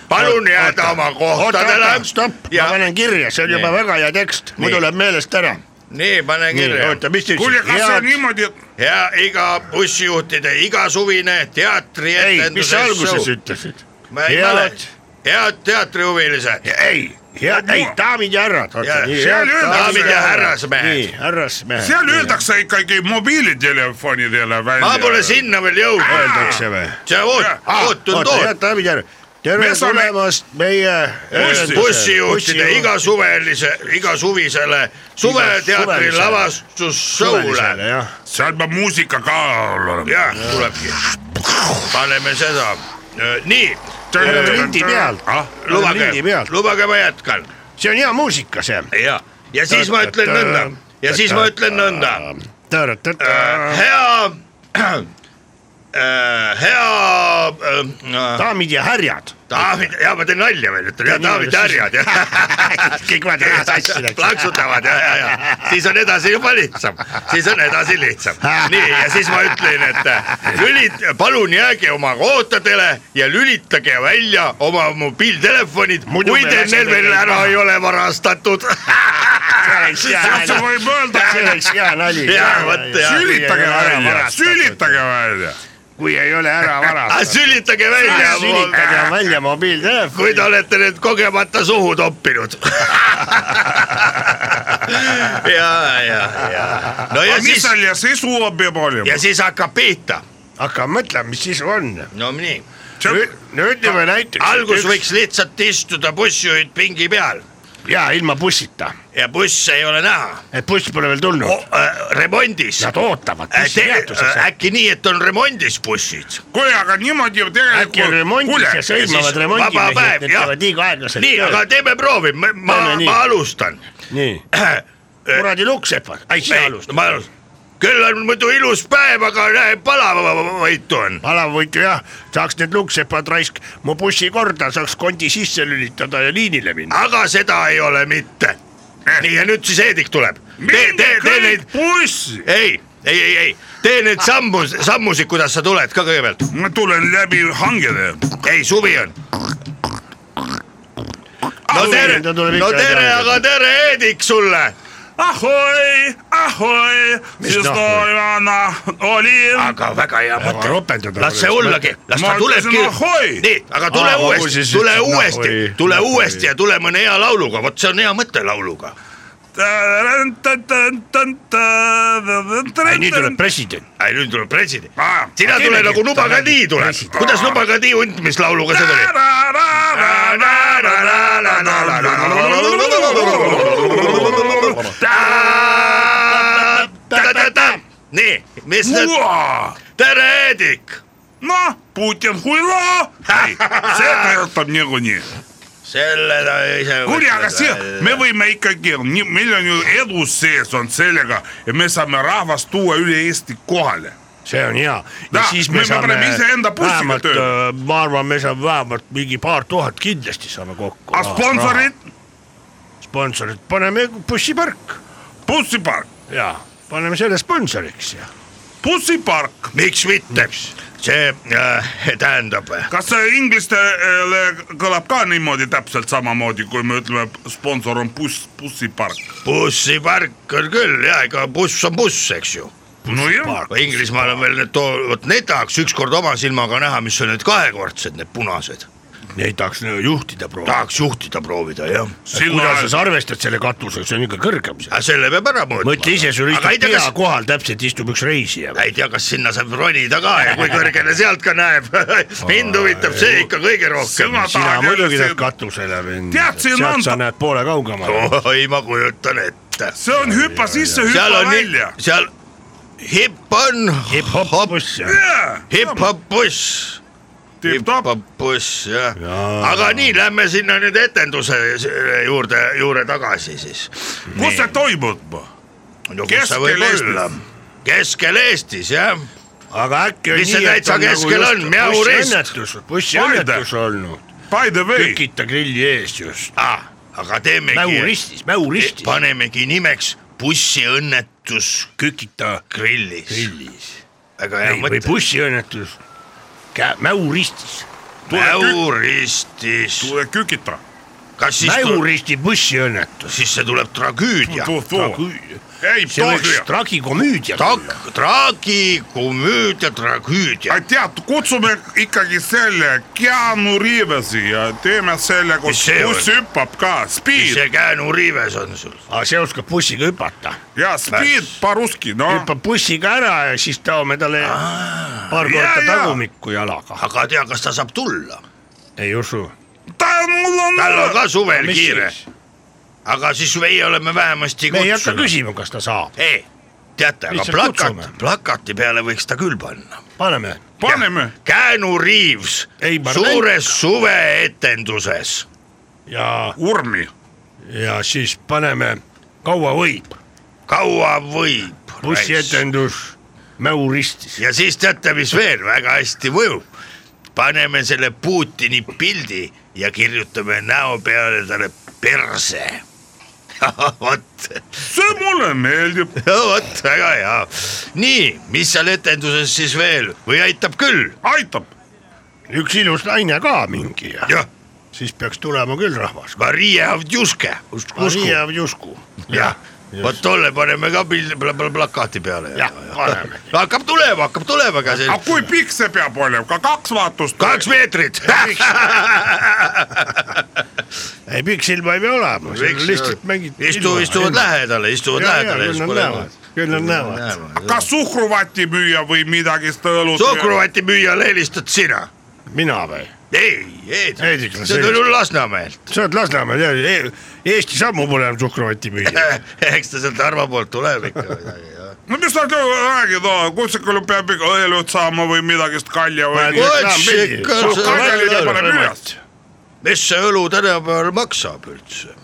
Speaker 11: palun jääda oma kohtadele .
Speaker 9: stopp , ma panen kirja , see on
Speaker 11: Nii.
Speaker 9: juba väga hea tekst , muidu
Speaker 11: Nii.
Speaker 9: läheb meelest ära .
Speaker 11: nii , pane kirja .
Speaker 9: oota , mis te
Speaker 11: Kuulge, kas see on
Speaker 9: niimoodi , et .
Speaker 11: ja iga bussijuhtide igasuvine
Speaker 9: ei , mis
Speaker 11: teatrietenduse
Speaker 9: sa alguses ütlesid ?
Speaker 11: ma ei
Speaker 9: Head-
Speaker 11: mäleta , head teatrihuvilised .
Speaker 9: ei , head , ei , daamid ja härrad .
Speaker 11: Ja- seal öeldakse- Daamid ja härrasmehed.
Speaker 9: nii , härrasmehed .
Speaker 6: seal . öeldakse ikkagi mobiilitelefonidele välja .
Speaker 11: ma pole sinna veel jõudnud .
Speaker 9: öeldakse või ?
Speaker 11: see oot , oot on
Speaker 9: Ah. head
Speaker 11: oot .
Speaker 9: daamid ja härrad , tere
Speaker 11: Me saame-
Speaker 9: tulemast meie .
Speaker 11: bussijuhtide igasuvelise , igasuvisele suveteatri
Speaker 9: suvelisele.
Speaker 11: lavastus show'le .
Speaker 9: jah .
Speaker 6: seal peab muusika ka olema .
Speaker 11: jah , tulebki . paneme seda , nii .
Speaker 9: Me oleme lindi peal.
Speaker 11: Ah, lubage
Speaker 9: Lindi , peal.
Speaker 11: lubage , ma jätkan
Speaker 9: see on hea muusika , see .
Speaker 11: ja , ja siis ma ütlen nõnda ja siis ma ütlen nõnda .
Speaker 9: Um,
Speaker 11: hea , <clears throat> hea äh,
Speaker 9: daamid ja härjad .
Speaker 11: David , ja ma teen nalja veel , ütlen ja David ja härjad ja
Speaker 9: kõik vaatavad ära <laughs> sassi läks .
Speaker 11: <laughs> plaksutavad ja , ja , ja siis on edasi juba lihtsam , siis on edasi lihtsam . nii , ja siis ma ütlen , et lülit- , palun jääge oma kohtadele ja lülitage välja oma mobiiltelefonid ,
Speaker 9: Muidu
Speaker 11: kui
Speaker 9: me
Speaker 11: teil
Speaker 9: laseme
Speaker 11: need veel
Speaker 9: teid
Speaker 11: ära
Speaker 9: maha.
Speaker 11: ei ole varastatud . <laughs>
Speaker 6: see võib öelda ,
Speaker 9: see oleks hea nali .
Speaker 11: ja vot ja .
Speaker 6: sülitage välja , sülitage välja .
Speaker 9: kui ei ole ära
Speaker 11: <laughs>
Speaker 9: varastatud .
Speaker 11: sülitage välja ,
Speaker 9: sülitage välja mobiiltelefon .
Speaker 11: kui te olete need kogemata suhu toppinud ja , ja , ja . no ja
Speaker 6: aga mis
Speaker 11: siis ,
Speaker 6: seal ja sisu peab olema
Speaker 11: ja ? siis hakkab pihta .
Speaker 9: hakka mõtlema , mis sisu on .
Speaker 11: no nii ,
Speaker 9: no ütleme näiteks .
Speaker 11: algus . võiks lihtsalt istuda bussijuhid pingi peal
Speaker 9: ja ilma bussita ,
Speaker 11: ja buss ei ole näha
Speaker 9: et buss pole veel tulnud
Speaker 11: o . äh, . remondis .
Speaker 9: Nad ootavad bussipeatuses .
Speaker 11: Äh, äkki nii , et on remondis bussid .
Speaker 6: kuule , aga niimoodi ju
Speaker 9: äkki on
Speaker 6: tegelikult .
Speaker 9: remondis ja
Speaker 11: ja siis
Speaker 9: sõimavad
Speaker 11: vaba
Speaker 9: remondimehi ,
Speaker 11: päev,
Speaker 9: et need
Speaker 11: jah.
Speaker 9: teevad liiga aeglaselt
Speaker 11: nii , aga . teeme proovi , ma , ma
Speaker 9: Teeme nii. ,
Speaker 11: ma alustan .
Speaker 5: nii ,
Speaker 9: kuradi luksepad , ai sina
Speaker 11: ei ,
Speaker 9: alusta .
Speaker 11: ma alustan . küll on muidu ilus päev , aga näe , palavavõitu on .
Speaker 9: alavõitu jah , saaks need luksepad raisk mu bussi korda , saaks kondi sisse lülitada ja liinile minna .
Speaker 11: aga seda ei ole mitte .
Speaker 9: Eh.
Speaker 11: nii ja nüüd siis Heedik tuleb . tee , tee , tee neid ,
Speaker 6: bussi ,
Speaker 11: ei , ei , ei , ei , tee need sammus , sammusid , kuidas sa tuled ka kõigepealt .
Speaker 6: ma tulen läbi hangede .
Speaker 11: ei , suvi on . no
Speaker 9: Suvi
Speaker 11: tere
Speaker 9: on, ta , tuleb
Speaker 11: no
Speaker 9: ikka
Speaker 11: tere ,
Speaker 9: tagasi.
Speaker 11: aga tere , Heedik sulle .
Speaker 6: ahoi , ahoi , siis
Speaker 9: nahku?
Speaker 6: Norjana oli .
Speaker 11: noh, aga väga hea
Speaker 9: aga
Speaker 11: mõte .
Speaker 9: ropendada .
Speaker 11: las see ollagi , las
Speaker 6: Ma
Speaker 11: ta tulebki
Speaker 6: ütlesin, ahoi! .
Speaker 11: nii , aga tule
Speaker 9: Aa,
Speaker 11: Aa,
Speaker 9: ma
Speaker 11: uuesti ,
Speaker 9: kuulsin,
Speaker 11: tule
Speaker 9: ütlesid,
Speaker 11: uuesti
Speaker 9: nahoi, ,
Speaker 11: tule
Speaker 9: nahoi.
Speaker 11: uuesti ja tule mõne hea lauluga , vot see on hea mõte lauluga .
Speaker 9: ei , nii tuleb president .
Speaker 11: ei , nüüd tuleb president .
Speaker 6: Aa,
Speaker 11: sina tule
Speaker 9: kellegi-
Speaker 11: nagu Nubagadi
Speaker 9: kellegi
Speaker 11: tuleb .
Speaker 9: president.
Speaker 11: kuidas Nubagadi hunt , mis lauluga see tuli ? nii , mis nüüd , tere , Heedik .
Speaker 6: noh , Putin huilo . ei , see töötab niikuinii .
Speaker 11: selle ta ise .
Speaker 6: kuulge , aga see , me . võime ikkagi , meil on ju edu sees on sellega , et me saame rahvast tuua üle Eesti kohale .
Speaker 9: see on hea . ja
Speaker 6: Da,
Speaker 9: siis me,
Speaker 6: me- me
Speaker 9: saame
Speaker 6: paneme iseenda bussiga
Speaker 9: vähemalt äh,
Speaker 6: tööle. ,
Speaker 9: ma arvan , me saame vähemalt mingi paar tuhat kindlasti saame kokku .
Speaker 11: Ah,
Speaker 6: aga sponsorid ,?
Speaker 9: sponsorid paneme bussipark
Speaker 6: bussipark ,
Speaker 9: ja paneme selle sponsoriks ja .
Speaker 6: bussipark ,
Speaker 11: miks mitte , see äh, tähendab ,
Speaker 6: kas see
Speaker 11: э,
Speaker 6: inglistele kõlab ka niimoodi täpselt samamoodi , kui me ütleme , sponsor on buss , bussipark .
Speaker 11: bussipark on küll ja ega buss on buss , eks ju .
Speaker 6: nojah ,
Speaker 11: Inglismaal on veel need too , vot need tahaks ükskord oma silmaga näha , mis on need kahekordsed , need punased .
Speaker 9: Neid tahaks äh, juhtida proovida .
Speaker 11: tahaks juhtida proovida jah ,
Speaker 9: kuidas sa arvestad selle katusega , see on ikka kõrgem seal .
Speaker 11: aga selle peab ära mõõtma .
Speaker 9: mõtle ise , sul
Speaker 11: Aga ei
Speaker 9: istub
Speaker 11: tea,
Speaker 9: pea
Speaker 11: kas-
Speaker 9: kohal täpselt istub üks reisija .
Speaker 11: <laughs> ei tea , kas sinna saab ronida ka ja kui kõrgele sealt ka näeb . <laughs> mind huvitab see ikka kõige rohkem .
Speaker 6: Sõna-
Speaker 9: sina
Speaker 6: tahad
Speaker 9: muidugi
Speaker 6: jälle
Speaker 9: tead katusele minna
Speaker 6: Tead, , siin on
Speaker 9: sealt sa
Speaker 6: ta-
Speaker 9: näed poole kaugemale .
Speaker 11: oi , ma kujutan ette .
Speaker 6: see on hüppa sisse ,
Speaker 11: seal
Speaker 6: hüppa
Speaker 11: on
Speaker 6: välja .,
Speaker 11: seal hip on ,
Speaker 9: hip-hop buss ja
Speaker 11: hip-hop buss . tipp-topp-buss jah ja. , aga nii , lähme sinna nüüd etenduse s- juurde , juurde tagasi siis . kus see toimub ? no kus see võib
Speaker 6: Keskel-Eestis.
Speaker 11: olla ? keskel Eestis jah .
Speaker 9: aga äkki
Speaker 11: mis see täitsa
Speaker 9: nagu
Speaker 11: keskel on , mjau rist .
Speaker 9: bussiõnnetus , bussiõnnetus olnud .
Speaker 11: By the way .
Speaker 9: tükita grilli ees just
Speaker 11: ah, . aga teemegi .
Speaker 9: Mäuristis, Mäuristis .
Speaker 11: panemegi nimeks bussiõnnetus kükita grillis, grillis. . väga hea
Speaker 9: Ei, või
Speaker 11: mõte .
Speaker 9: bussiõnnetus Kä- Mäuristis .
Speaker 11: Mäuristis .
Speaker 6: tule eh, kükita .
Speaker 11: kas siis tuleb ,
Speaker 9: Mäuristi bussiõnnetus .
Speaker 11: siis see tuleb tragöödia . nagu-
Speaker 6: ei ,
Speaker 9: see võiks tragikomüüdia tulla .
Speaker 11: tragikomöödia , tragöödia .
Speaker 6: tead , kutsume ikkagi selle Keanu Rivesi ja teeme selle , kus
Speaker 11: Mis see
Speaker 6: buss
Speaker 11: on?
Speaker 6: hüppab ka ,
Speaker 11: mis see
Speaker 6: Speed
Speaker 11: Käänu riives on sul ?
Speaker 9: aga see oskab bussiga hüpata .
Speaker 6: ja Speed paruski , noh .
Speaker 9: hüppab bussiga ära ja siis taome talle paar
Speaker 11: jaa,
Speaker 9: korda
Speaker 11: jaa.
Speaker 9: tagumikku jalaga .
Speaker 11: aga tea , kas ta saab tulla ?
Speaker 9: ei usu .
Speaker 6: ta , mul on
Speaker 11: tal on ka suvel
Speaker 9: Mis
Speaker 11: kiire
Speaker 9: siis? .
Speaker 11: aga siis meie oleme vähemasti
Speaker 9: me ei hakka
Speaker 11: kutsunud .
Speaker 9: küsima , kas ta saab ,
Speaker 11: ei , teate , aga
Speaker 9: Lihtsalt
Speaker 11: plakat
Speaker 9: kutsume. ,
Speaker 11: plakati peale võiks ta küll panna .
Speaker 9: paneme .
Speaker 6: paneme ,
Speaker 11: Käänu Riivs
Speaker 9: Ei, ma
Speaker 11: suures suveetenduses .
Speaker 9: ja ,
Speaker 6: Urmi ,
Speaker 9: ja siis paneme Kaua võib ,
Speaker 11: kaua võib ?
Speaker 9: bussietendus Mäuristis .
Speaker 11: ja siis teate , mis veel väga hästi mõjub ? paneme selle Putini pildi ja kirjutame näo peale talle perse . <laughs> vot ,
Speaker 6: see mulle meeldib .
Speaker 11: <laughs> vot väga hea . nii , mis seal etenduses siis veel või aitab küll ?
Speaker 6: aitab ,
Speaker 9: üks ilus naine ka mingi ja
Speaker 11: jah ,
Speaker 9: siis peaks tulema küll rahvas .
Speaker 11: Maria Avdjuske .
Speaker 9: Maria Jusku .
Speaker 11: jah , vot tolle paneme ka pildi pla, pla, plakati peale .
Speaker 9: Jah, paneme.
Speaker 11: hakkab tulema , hakkab tulema ka see
Speaker 6: aga . kui pikk see peab olema , ka kaks vaatust .
Speaker 11: kaks meetrit .
Speaker 9: ei , pikksilma ei pea olema , lihtsalt mängid .
Speaker 11: <laughs> istu , istuvad . lähedale , istuvad
Speaker 9: Jaa, jaa,
Speaker 11: lähedale .
Speaker 9: küll nad näevad, küll nad näevad. .
Speaker 6: kas suhkruvatti müüa või midagi seda õlut ?
Speaker 11: suhkruvati müüjale helistad sina .
Speaker 9: mina või ?
Speaker 11: ei , ei ,
Speaker 9: Heidik, las
Speaker 11: see tuli
Speaker 9: helistab.
Speaker 11: Lasnamäelt . <laughs>
Speaker 9: sa oled Lasnamäe , tead , E-, Eesti sammu pole enam suhkruvati müüa .
Speaker 11: eks ta sealt Narva poolt tuleb
Speaker 9: <laughs>
Speaker 11: ikka midagi , jah .
Speaker 6: no mis sa räägid , kuskil peab ikka õlut saama või midagi sest kalja või
Speaker 11: Vot-
Speaker 6: nii .
Speaker 11: mis see õlu tänapäeval maksab üldse ?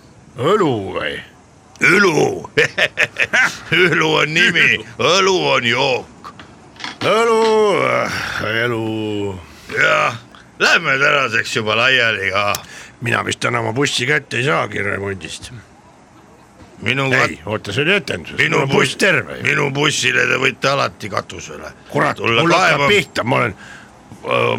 Speaker 9: õlu või ?
Speaker 11: õlu . <laughs> õlu on nimi , õlu on jook .
Speaker 9: õlu , äh, elu .
Speaker 11: jah , lähme tänaseks juba laiali ka .
Speaker 9: mina vist enam oma bussi kätte ei saagi remondist .
Speaker 11: minu ,
Speaker 9: ei , oota , see oli etendus .
Speaker 11: minu
Speaker 9: buss terve ju .
Speaker 11: minu bussile te võite alati katusele .
Speaker 9: kurat , mul hakkab pihta , ma olen ,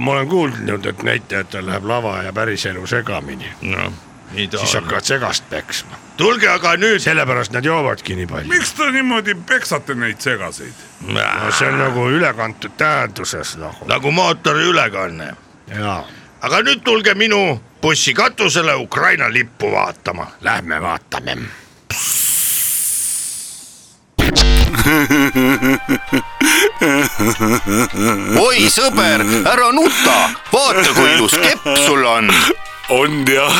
Speaker 9: ma olen kuulnud , et näitajatel läheb lava ja päriselu segamini .
Speaker 11: noh , nii ta
Speaker 9: siis
Speaker 11: on .
Speaker 9: hakkavad segast peksma .
Speaker 11: tulge aga nüüd .
Speaker 9: sellepärast nad joovadki nii palju .
Speaker 6: miks te niimoodi peksate neid segaseid ?
Speaker 9: no see on nagu ülekantud tähenduses
Speaker 4: noh.
Speaker 9: nagu .
Speaker 11: nagu mootori ülekanne .
Speaker 9: jaa ,
Speaker 11: aga nüüd tulge minu bussi katusele Ukraina lippu vaatama .
Speaker 9: lähme vaatame .
Speaker 1: oi sõber , ära nuta , vaata kui ilus kepp sul on .
Speaker 2: on jah ,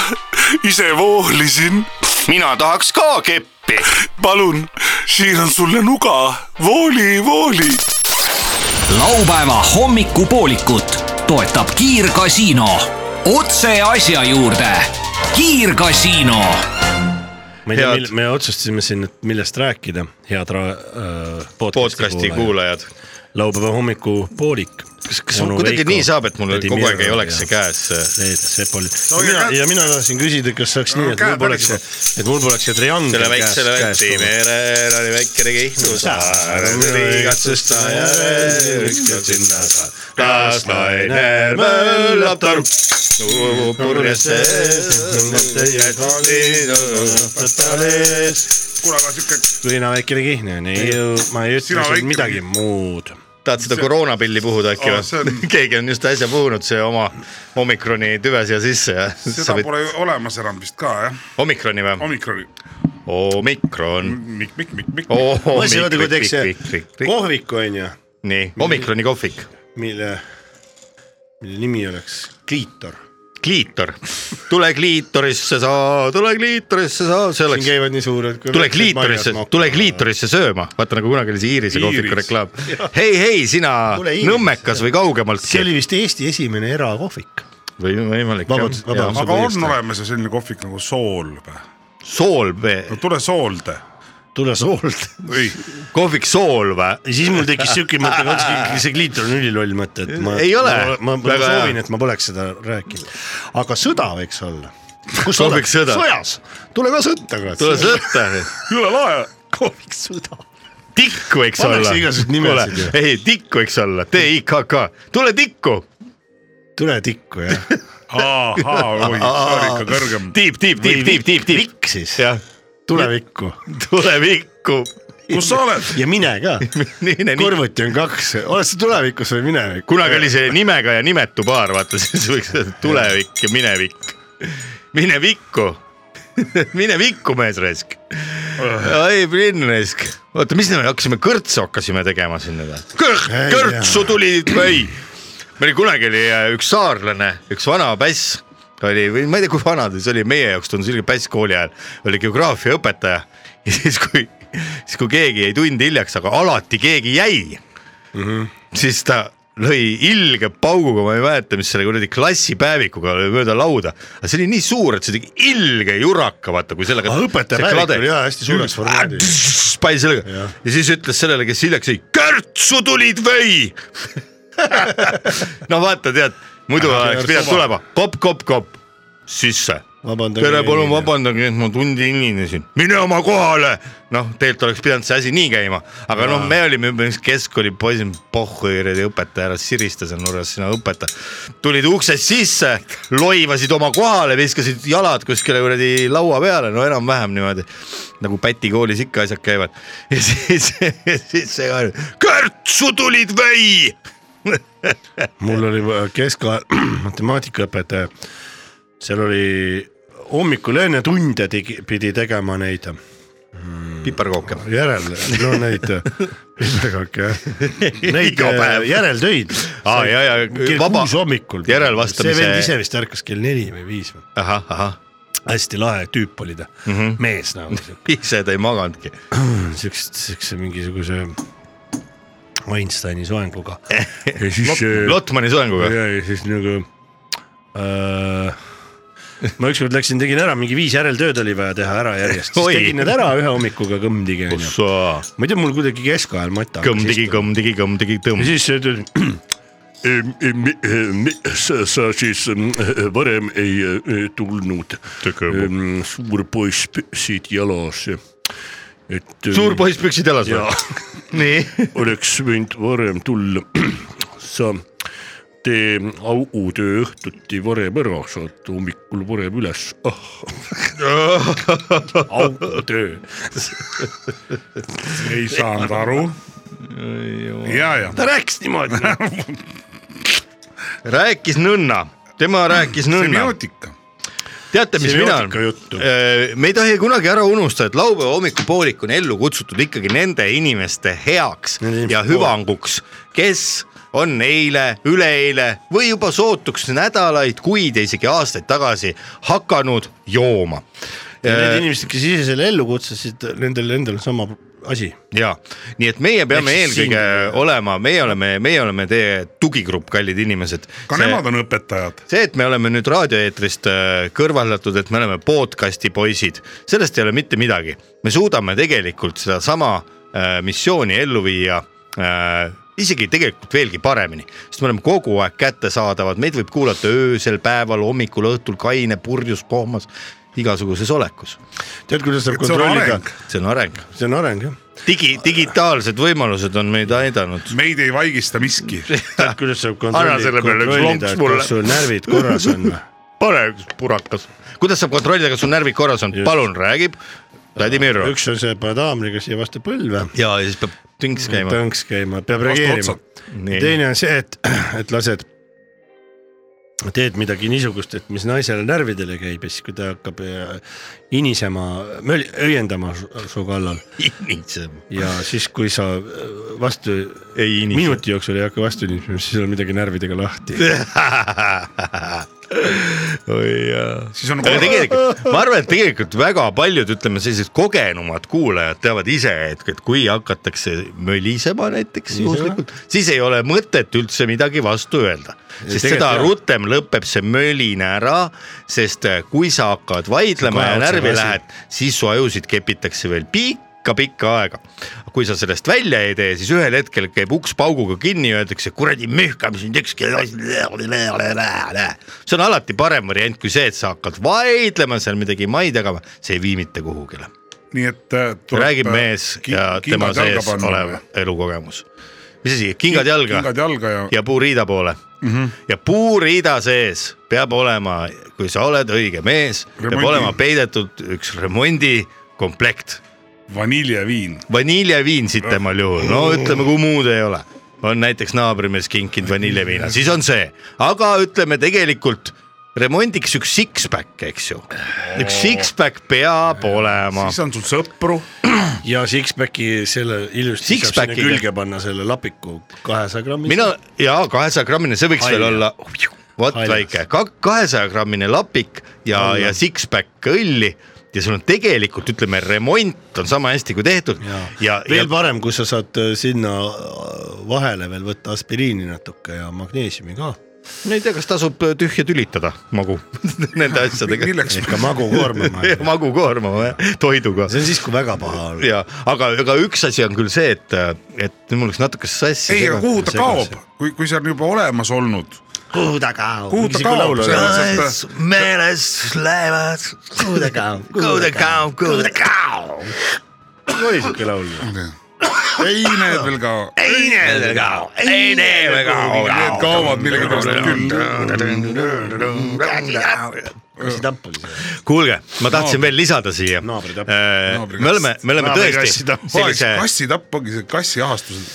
Speaker 2: ise voolisin ,
Speaker 1: mina tahaks ka keppi .
Speaker 2: palun , siin on sulle nuga , vooli , vooli
Speaker 3: laupäeva hommikupoolikut toetab Kiirgasiino . otse asja juurde . kiirgasiino .
Speaker 5: ma ei tea
Speaker 4: Head- ,
Speaker 5: me otsustasime siin , et millest rääkida , head ra- äh,
Speaker 4: podcast'i kuulajad .
Speaker 5: laupäeva hommikupoolik .
Speaker 4: kas , kas mul kuidagi nii saab , et mul kogu aeg ei oleks see käes see
Speaker 5: Leed Sepoli
Speaker 6: No
Speaker 5: no, . mina
Speaker 6: käed-
Speaker 5: ja mina tahtsin küsida , kas saaks nii , et
Speaker 6: käed
Speaker 5: mul poleks
Speaker 6: värisema. ,
Speaker 5: et mul poleks see triangel
Speaker 4: selle
Speaker 5: käes ,
Speaker 4: väiksele
Speaker 5: käes .
Speaker 4: Läti merel oli väikene Kihnu saar , igatsust ta järel , ükskord sinna saab . las naine möllab torm , tuubu purjesse ,
Speaker 6: kuule , aga siuke ,
Speaker 5: Liina väikene Kihnen , ei ju , ma
Speaker 6: Sina
Speaker 5: ei ütle sulle
Speaker 6: väikene-
Speaker 5: midagi muud .
Speaker 4: tahad seda koroonapilli puhuda äkki
Speaker 6: Aa, see on-
Speaker 4: või ? <laughs> keegi on just äsja puhunud see oma omikroni tüve siia sisse ja sa
Speaker 6: seda
Speaker 4: võid ,
Speaker 6: pole olemas enam vist ka jah ,
Speaker 4: omikroni või ?
Speaker 6: omikroni .
Speaker 4: omikron .
Speaker 6: mikk , mikk , mikk , mikk .
Speaker 5: ma ei saa öelda , kui teeks see
Speaker 4: nii ,
Speaker 5: kohvik on ju ,
Speaker 4: omikroni kohvik .
Speaker 5: mille , mille nimi oleks kliitor .
Speaker 4: kliitor , tule kliitorisse sa , tule kliitorisse sa , see oleks .
Speaker 5: siin käivad nii suured .
Speaker 4: tule kliitorisse , tule kliitorisse sööma , vaata nagu kunagi oli see Iirise kohviku
Speaker 5: Iiris.
Speaker 4: reklaam . hei , hei , sina
Speaker 5: Tule Iiris.
Speaker 4: Nõmmekas või kaugemalt .
Speaker 5: see oli vist Eesti esimene erakohvik .
Speaker 4: või võimalik .
Speaker 5: Vabandust, vabandust,
Speaker 6: aga on olemas ju selline kohvik nagu Sool või ?
Speaker 4: Sool või ?
Speaker 6: no tule Soolde .
Speaker 5: tule Soolde .
Speaker 4: kohvik Sool või ?
Speaker 5: ja siis mul tekkis siuke mõte , see kliitor on üliloll mõte , et ma .
Speaker 4: Ei ole.
Speaker 5: ma, ma
Speaker 4: Väga hea.
Speaker 5: soovin , et ma poleks seda rääkinud , aga sõda võiks olla . kus sa oled
Speaker 4: Kohvik ? sõda.
Speaker 5: sõjas , tule ka sõtta .
Speaker 4: tule sõtta .
Speaker 5: üle lae . kohvik sõda .
Speaker 4: tikk võiks
Speaker 5: Pannakse
Speaker 4: olla .
Speaker 5: igasuguseid nimesid ju.
Speaker 4: ei , tikk võiks olla , T-I-K-K , tule tikku .
Speaker 5: tule tikku jah .
Speaker 6: ahhaa , oi , see oli ikka kõrgem .
Speaker 4: tiib , tiib , tiib , tiib , tiib , tiib . vikk
Speaker 5: siis .
Speaker 4: tulevikku . tulevikku .
Speaker 6: kus sa oled ?
Speaker 5: ja <laughs> mine ka . kõrvuti on kaks , oled sa tulevikus või minevikus ?
Speaker 4: kunagi oli see nimega ja nimetu paar , vaata siis võiks öelda tulevik ja minevik . mine vikku , mine vikku , mees raisk . ei , Brinn raisk , oota , mis me hakkasime , kõrtsu hakkasime tegema sinna või ? kõrtsu tuli , ei , meil kunagi oli äh, üks saarlane , üks vana päss oli või ma ei tea , kui vana ta siis oli , meie jaoks tundus ilge päss kooli ajal , oli geograafiaõpetaja ja siis , kui , siis kui keegi jäi tund hiljaks , aga alati keegi jäi mm , -hmm. siis ta lõi ilge pauguga , ma ei mäleta , mis selle kuradi klassipäevikuga oli mööda lauda , aga see oli nii suur , et see tegi ilge juraka , vaata kui sellega .
Speaker 5: Ah, õpetaja päevik oli jaa hästi suures formaadis .
Speaker 4: pani sellega ja. ja siis ütles sellele , kes hiljaks jäi , kõrtsu tulid või ? <laughs> no vaata , tead , muidu
Speaker 5: Aga
Speaker 4: oleks pidanud
Speaker 5: kõrtsu-
Speaker 4: tulema kopp-kopp-kopp sisse
Speaker 5: vabandage .
Speaker 4: tere , palun . vabandage , et ma tundi hilinesin , mine oma kohale . noh , tegelikult oleks pidanud see asi nii käima , aga noh , me olime juba üks keskkooli poisid , pohhu kuradi õpetaja ära siristas on nurgas , sina õpetaja . tulid uksest sisse , loivasid oma kohale , viskasid jalad kuskile kuradi laua peale , no enam-vähem niimoodi nagu päti koolis ikka asjad käivad . <laughs> ja siis , siis see ka , kõrtsu tulid või ?
Speaker 5: mul oli keskajal <clears throat> matemaatikaõpetaja , seal oli hommikul enne tunde tegi , pidi tegema neid
Speaker 4: piparkooke .
Speaker 5: järel , no neid äh,
Speaker 4: <laughs>
Speaker 5: piparkooke jah , neid
Speaker 4: Iga päev.
Speaker 5: äh, järeltöid .
Speaker 4: Aa, ja, ja,
Speaker 5: kell
Speaker 4: vaba-
Speaker 5: kuus hommikul .
Speaker 4: järelvastamise-
Speaker 5: see vend ise vist ärkas kell neli või viis või .
Speaker 4: ahah , ahah .
Speaker 5: hästi lahe tüüp oli ta
Speaker 4: Mhm.
Speaker 5: mm , -hmm. mees nagu
Speaker 4: ise ta ei maganudki .
Speaker 5: siukse , siukse mingisuguse Einsteini soenguga .
Speaker 4: <laughs> Lot- Lotmani soenguga.
Speaker 5: ja , ja siis nagu äh, . ma ükskord läksin , tegin ära , mingi viis järeltööd oli vaja teha ära järjest ,
Speaker 4: Oi.
Speaker 5: siis tegin need ära ühe hommikuga kõmdigi onju .
Speaker 4: Ossaa.
Speaker 5: ma ei tea , mul kuidagi keskajal mata .
Speaker 4: kõmm-tigi , kõmm-tigi , kõmm-tigi , tõmm
Speaker 5: ja . siis see tuli , <clears throat>
Speaker 9: sa, sa siis mm, varem ei eh, tulnud . suur poiss püsid jalas . et .
Speaker 4: suur poiss püksid jalas
Speaker 9: jaa
Speaker 4: või ? <laughs> nii .
Speaker 9: oleks võinud varem tulla . sa tee autöö õhtuti varem ära , saad hommikul varem üles . ah , autöö .
Speaker 6: ei saanud aru . ja , ja .
Speaker 9: ta rääkis
Speaker 5: <laughs>
Speaker 9: niimoodi .
Speaker 4: rääkis nõnna , tema rääkis nõnna .
Speaker 6: semiootika .
Speaker 4: teate , mis mina olen
Speaker 9: Semiootika juttu. ?
Speaker 4: me ei tohi kunagi ära unustada , et laupäeva hommikupoolik on ellu kutsutud ikkagi nende inimeste heaks
Speaker 5: Nende inimeste
Speaker 4: ja hüvanguks , kes on eile , üleeile või juba sootuks nädalaid , kuid ja isegi aastaid tagasi hakanud jooma . Äh,
Speaker 5: need inimesed , kes ise selle ellu kutsusid , nendel endal on sama asi .
Speaker 4: ja nii et meie peame
Speaker 5: Ehk siis
Speaker 4: eelkõige olema , meie oleme , meie oleme teie tugigrupp , kallid inimesed .
Speaker 6: ka see... nemad on õpetajad .
Speaker 4: see , et me oleme nüüd raadioeetrist äh, kõrvaldatud , et me oleme podcast'i poisid , sellest ei ole mitte midagi . me suudame tegelikult sedasama äh, missiooni ellu viia äh, isegi tegelikult veelgi paremini , sest me oleme kogu aeg kättesaadavad , meid võib kuulata öösel , päeval , hommikul , õhtul , kaine , purjus , pohmas , igasuguses olekus .
Speaker 5: tead , kuidas saab
Speaker 6: Et see on
Speaker 5: kontrollida ?
Speaker 6: areng.
Speaker 4: see on areng .
Speaker 5: see on areng jah .
Speaker 4: digi , digitaalsed võimalused on meid <laughs> aidanud .
Speaker 6: meid ei vaigista miski .
Speaker 5: tead , Ah, kuidas saab
Speaker 4: Anna selle peale üks
Speaker 5: kontrollida ,
Speaker 4: lonks
Speaker 5: et
Speaker 4: mulle.
Speaker 5: kas sul närvid korras
Speaker 4: <laughs>
Speaker 5: on või ?
Speaker 4: pane üks purakas . kuidas saab kontrollida , kas sul närvid korras on ? palun , räägib Vladimir .
Speaker 5: üks on see padaamriga siia vastu põlve ,
Speaker 4: ja ja siis peab tünks käima .
Speaker 5: tõnks käima , peab reageerima . teine on see , et , <clears throat> et lased , teed midagi niisugust , et mis naisele närvidele käib ja siis , kui ta hakkab äh, inisema , õiendama su, su kallal
Speaker 4: inimesed .
Speaker 5: ja siis , kui sa äh, vastu
Speaker 4: ei inise.
Speaker 5: minuti jooksul ei hakka vastu niisuguseks , siis on midagi närvidega lahti .
Speaker 4: <laughs> oi jaa .
Speaker 6: Siis on
Speaker 4: aga
Speaker 6: nagu-
Speaker 4: tegelikult , ma arvan , et tegelikult väga paljud , ütleme sellised kogenumad kuulajad teavad ise , et , et kui hakatakse mölisema näiteks juhuslikult , siis ei ole mõtet üldse midagi vastu öelda . sest
Speaker 5: tegelikult
Speaker 4: seda
Speaker 5: jah.
Speaker 4: rutem lõpeb see mölin ära , sest eh, kui sa hakkad vaidlema
Speaker 5: kahe
Speaker 4: ja
Speaker 5: otsaga
Speaker 4: närvi
Speaker 5: asi.
Speaker 4: lähed , siis su ajusid kepitakse veel pikka-pikka aega . kui sa sellest välja ei tee , siis ühel hetkel käib uks pauguga kinni ja öeldakse , kuradi mühkame sind ükski asi . see on alati parem variant kui see , et sa hakkad vaidlema seal midagi maid jagama , see ei vii mitte kuhugile .
Speaker 6: nii et äh, tuleb,
Speaker 4: räägib
Speaker 6: äh,
Speaker 4: mees
Speaker 6: ki-
Speaker 4: ja tema
Speaker 6: kingad jalga
Speaker 4: sees
Speaker 6: panna
Speaker 4: olev
Speaker 6: või?
Speaker 4: elukogemus . mis asi , kingad jalga ?
Speaker 6: kingad jalga ja,
Speaker 4: ja puuriida poole mm .
Speaker 6: Mhm.
Speaker 4: -hmm. ja puuriida sees peab olema , kui sa oled õige mees , peab
Speaker 6: Remondi.
Speaker 4: olema peidetud üks remondikomplekt .
Speaker 6: vaniljeviin .
Speaker 4: vaniljeviin sitemal juhul , no ütleme , kui muud ei ole , on näiteks naabrimees kinkinud vaniljeviina , siis on see , aga ütleme tegelikult remondiks üks six-pack , eks ju , üks six-pack peab olema .
Speaker 6: siis on sul sõpru .
Speaker 5: <laughs> ja six-pack'i selle ilusti saab sinna
Speaker 4: Six-packiga.
Speaker 5: külge panna selle lapiku kahesaja grammi .
Speaker 4: mina ja kahesaja grammine , see võiks veel
Speaker 5: Haljas.
Speaker 4: olla , vot
Speaker 5: Haljas.
Speaker 4: väike kahesaja grammine lapik ja , ja six-pack õlli ja sul on tegelikult ütleme , remont on sama hästi kui tehtud ja, ja, ja
Speaker 5: veel parem , kui sa saad äh, sinna äh, vahele veel võtta aspiriini natuke ja magneesiumi ka .
Speaker 4: ma ei tea , kas tasub äh, tühja tülitada magu <laughs> nende asjadega . <laughs>
Speaker 6: milleks ?
Speaker 5: ikka magu koormama .
Speaker 4: magu koormama jah , toiduga .
Speaker 5: see on siis , kui väga paha on .
Speaker 4: ja , aga , aga üks asi on küll see , et , et mul läks natuke sassi .
Speaker 6: ei , aga kuhu ta kaob , kui , kui see on juba olemas olnud ?
Speaker 5: kuhu ta kaob ?
Speaker 6: kuhu ta kaob ?
Speaker 4: meeles lähevad ,
Speaker 5: kuhu ta kaob ,
Speaker 4: kuhu ta kaob , kuhu ta kaob .
Speaker 5: oli siuke laul .
Speaker 6: ei , need veel ka .
Speaker 4: ei need ei kao , ei need ei kao .
Speaker 6: Need kaovad millegipärast küll .
Speaker 5: mis see tamp oli ?
Speaker 4: kuulge , ma tahtsin veel lisada siia . me
Speaker 5: naabri tamp .
Speaker 4: oleme , me oleme tõesti sellise ,
Speaker 6: kassi tapp ongi see kassi ahastus .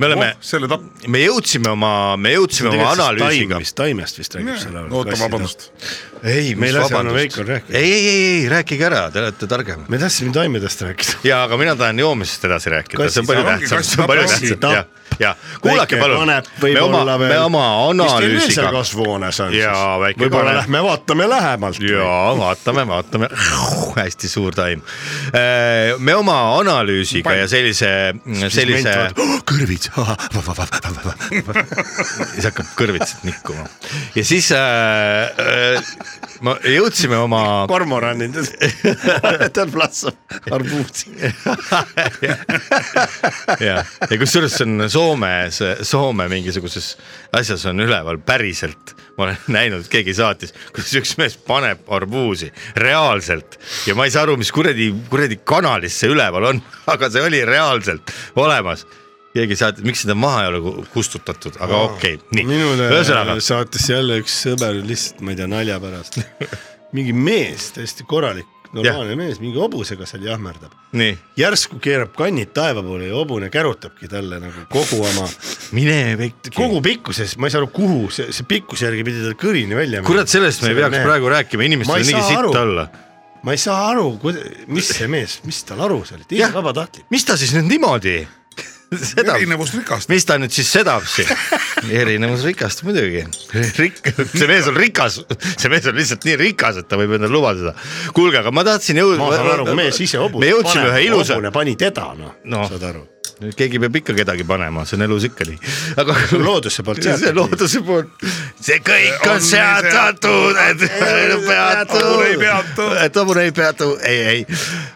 Speaker 4: me oleme ,
Speaker 6: selle tapp ,
Speaker 4: me jõudsime oma , me jõudsime oma analüüsiga .
Speaker 5: taimest , taimest vist räägib see laul .
Speaker 6: oota , vabandust .
Speaker 4: ei ,
Speaker 5: me ei
Speaker 4: mis
Speaker 5: lase enam
Speaker 4: vabandust .
Speaker 5: Veikol rääkida .
Speaker 4: ei , ei , ei , ei rääkige ära , te olete targem .
Speaker 5: me tahtsime taimedest rääkida .
Speaker 4: ja , aga mina tahan joomisest edasi rääkida , see
Speaker 5: Kassi
Speaker 4: on palju
Speaker 5: tapp.
Speaker 4: tähtsam ,
Speaker 6: Kassi
Speaker 4: see on palju
Speaker 6: tapp.
Speaker 4: tähtsam , jah , ja
Speaker 5: Väike
Speaker 4: kuulake palun
Speaker 5: vanep ,
Speaker 4: me oma
Speaker 5: võib-olla ,
Speaker 4: me
Speaker 5: veel.
Speaker 4: oma
Speaker 5: mis teil veel seal
Speaker 4: analüüsiga
Speaker 5: kasvuhoones on
Speaker 4: Jaa,
Speaker 5: siis ?
Speaker 4: väike
Speaker 5: võib-olla
Speaker 4: kane.
Speaker 5: lähme vaatame lähemalt .
Speaker 4: ja vaatame , vaatame , hästi suur taim . me oma analüüsiga ja sellise , sellise .
Speaker 5: Oh,
Speaker 4: kõrvits , siis hakkab kõrvitsat nikkuma ja siis äh, äh, ma jõudsime oma . <laughs>
Speaker 5: kormoranid , tal platsab arbuusi .
Speaker 4: <laughs> ja , ja kusjuures see on Soomes , Soome mingisuguses asjas on üleval päriselt , ma olen <laughs> näinud , keegi saatis , kus üks mees paneb arbuusi reaalselt ja ma ei saa aru , mis kuradi , kuradi kanalis see üleval on , <laughs> aga see oli reaalselt olemas . keegi saatis , miks seda maha ei ole ku- kustutatud , aga okei okay, , nii , ühesõnaga
Speaker 5: minule saatis jälle üks sõber lihtsalt , ma ei tea , nalja pärast . mingi mees , täiesti korralik , normaalne mees , mingi hobusega seal jahmerdab .
Speaker 4: nii ,
Speaker 5: järsku keerab kannid taeva poole ja hobune kärutabki talle nagu kogu oma ,
Speaker 4: mine pekki .
Speaker 5: kogu pikkuses , ma ei saa aru , kuhu see , see pikkuse järgi pidi tal kõrini välja minema .
Speaker 4: kurat , sellest me ei peaks praegu rääkima ,
Speaker 5: Ma
Speaker 4: inimestel on
Speaker 5: ei
Speaker 4: nii
Speaker 5: saa aru.
Speaker 4: sitt olla .
Speaker 5: ma ei saa aru , mis see mees , mis tal aru seal , et
Speaker 4: Jah.
Speaker 5: ise vabatahtlik .
Speaker 4: mis ta siis nüüd niimoodi <laughs> seda
Speaker 6: erinevus rikastab .
Speaker 4: mis ta nüüd siis sedab siin ? <laughs> erinevus rikast muidugi . Rik- , see mees on rikas , see mees on lihtsalt nii rikas , et ta võib endale lubada seda . kuulge , aga ma tahtsin jõuda .
Speaker 5: ma saan aru , kui mees ise hobune .
Speaker 4: me jõudsime ühe ilusa ,
Speaker 5: hobune pani teda , noh
Speaker 4: Noh.
Speaker 5: no. , saad aru .
Speaker 4: keegi peab ikka kedagi panema , see on elus ikka nii . aga
Speaker 5: looduse poolt
Speaker 4: see on
Speaker 5: seatud.
Speaker 4: looduse poolt . see kõik on
Speaker 6: On
Speaker 4: seatatud , et peatu ,
Speaker 6: Hobune ei peatu.
Speaker 4: et hobune ei peatu , ei , ei .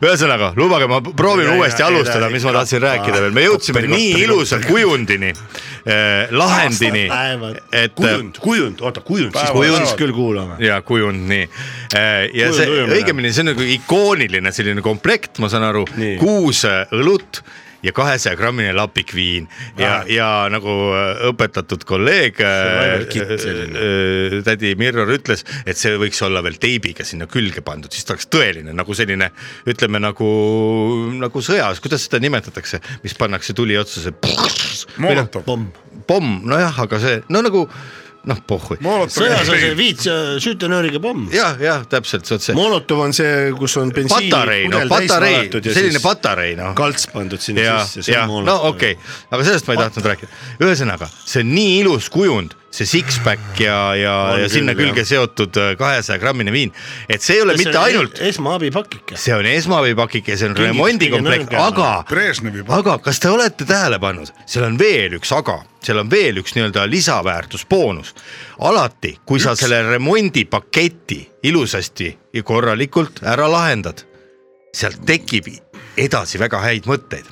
Speaker 4: ühesõnaga , lubage , ma proovin
Speaker 5: Ja, ja,
Speaker 4: uuesti
Speaker 5: ja,
Speaker 4: alustada
Speaker 5: ja, ,
Speaker 4: mis ma tahtsin rääkida veel , me jõudsime
Speaker 5: Kopteri,
Speaker 4: nii
Speaker 5: kopteri,
Speaker 4: ilusa kujundini , lahendini , et . eh,
Speaker 5: kujund , kujund , oota kujund , siis
Speaker 4: Kujund.
Speaker 5: kujund siis küll kuulame .
Speaker 4: ja kujund nii . ja
Speaker 5: Kujund
Speaker 4: see
Speaker 5: ujumine.
Speaker 4: õigemini , see on nagu ikooniline selline komplekt , ma saan aru
Speaker 5: Nii. ,
Speaker 4: kuus äh, õlut ja kahesaja grammine lapik viin ja ,
Speaker 5: Ah.
Speaker 4: ja nagu äh, õpetatud kolleeg
Speaker 5: Survival kit selline.
Speaker 4: äh, äh, tädi Mirror ütles , et see võiks olla veel teibiga sinna külge pandud , siis ta oleks tõeline nagu selline , ütleme nagu , nagu sõjas , kuidas seda nimetatakse , mis pannakse tuli otsa , see
Speaker 6: Molotov .
Speaker 4: pomm , nojah , aga see no nagu noh , pohhui .
Speaker 5: sõjas on see viits äh, süütenööriga pomm .
Speaker 4: jah , jah , täpselt , see on see .
Speaker 5: Molotov on see , kus on bensiini
Speaker 4: patarei , no patarei , selline patarei noh .
Speaker 5: kalts pandud sinna
Speaker 4: ja ,
Speaker 5: sisse .
Speaker 4: ja no okei okay. , aga sellest ma ei tahtnud rääkida . ühesõnaga , see on nii ilus kujund , see six-pack ja , ja , ja sinna
Speaker 5: küll,
Speaker 4: külge
Speaker 5: jah.
Speaker 4: seotud äh, kahesaja grammine viin , et see ei ole mitte ainult ,
Speaker 5: esmaabipakike .
Speaker 4: see on esmaabipakike , see on
Speaker 5: Kõige-
Speaker 4: remondikomplekt ,
Speaker 5: kõige nõrgem.
Speaker 4: aga , aga kas te olete tähele pannud , seal on veel üks aga , seal on veel üks nii-öelda lisaväärtus , boonus . alati , kui sa selle remondipaketi ilusasti ja korralikult ära lahendad , sealt tekib edasi väga häid mõtteid .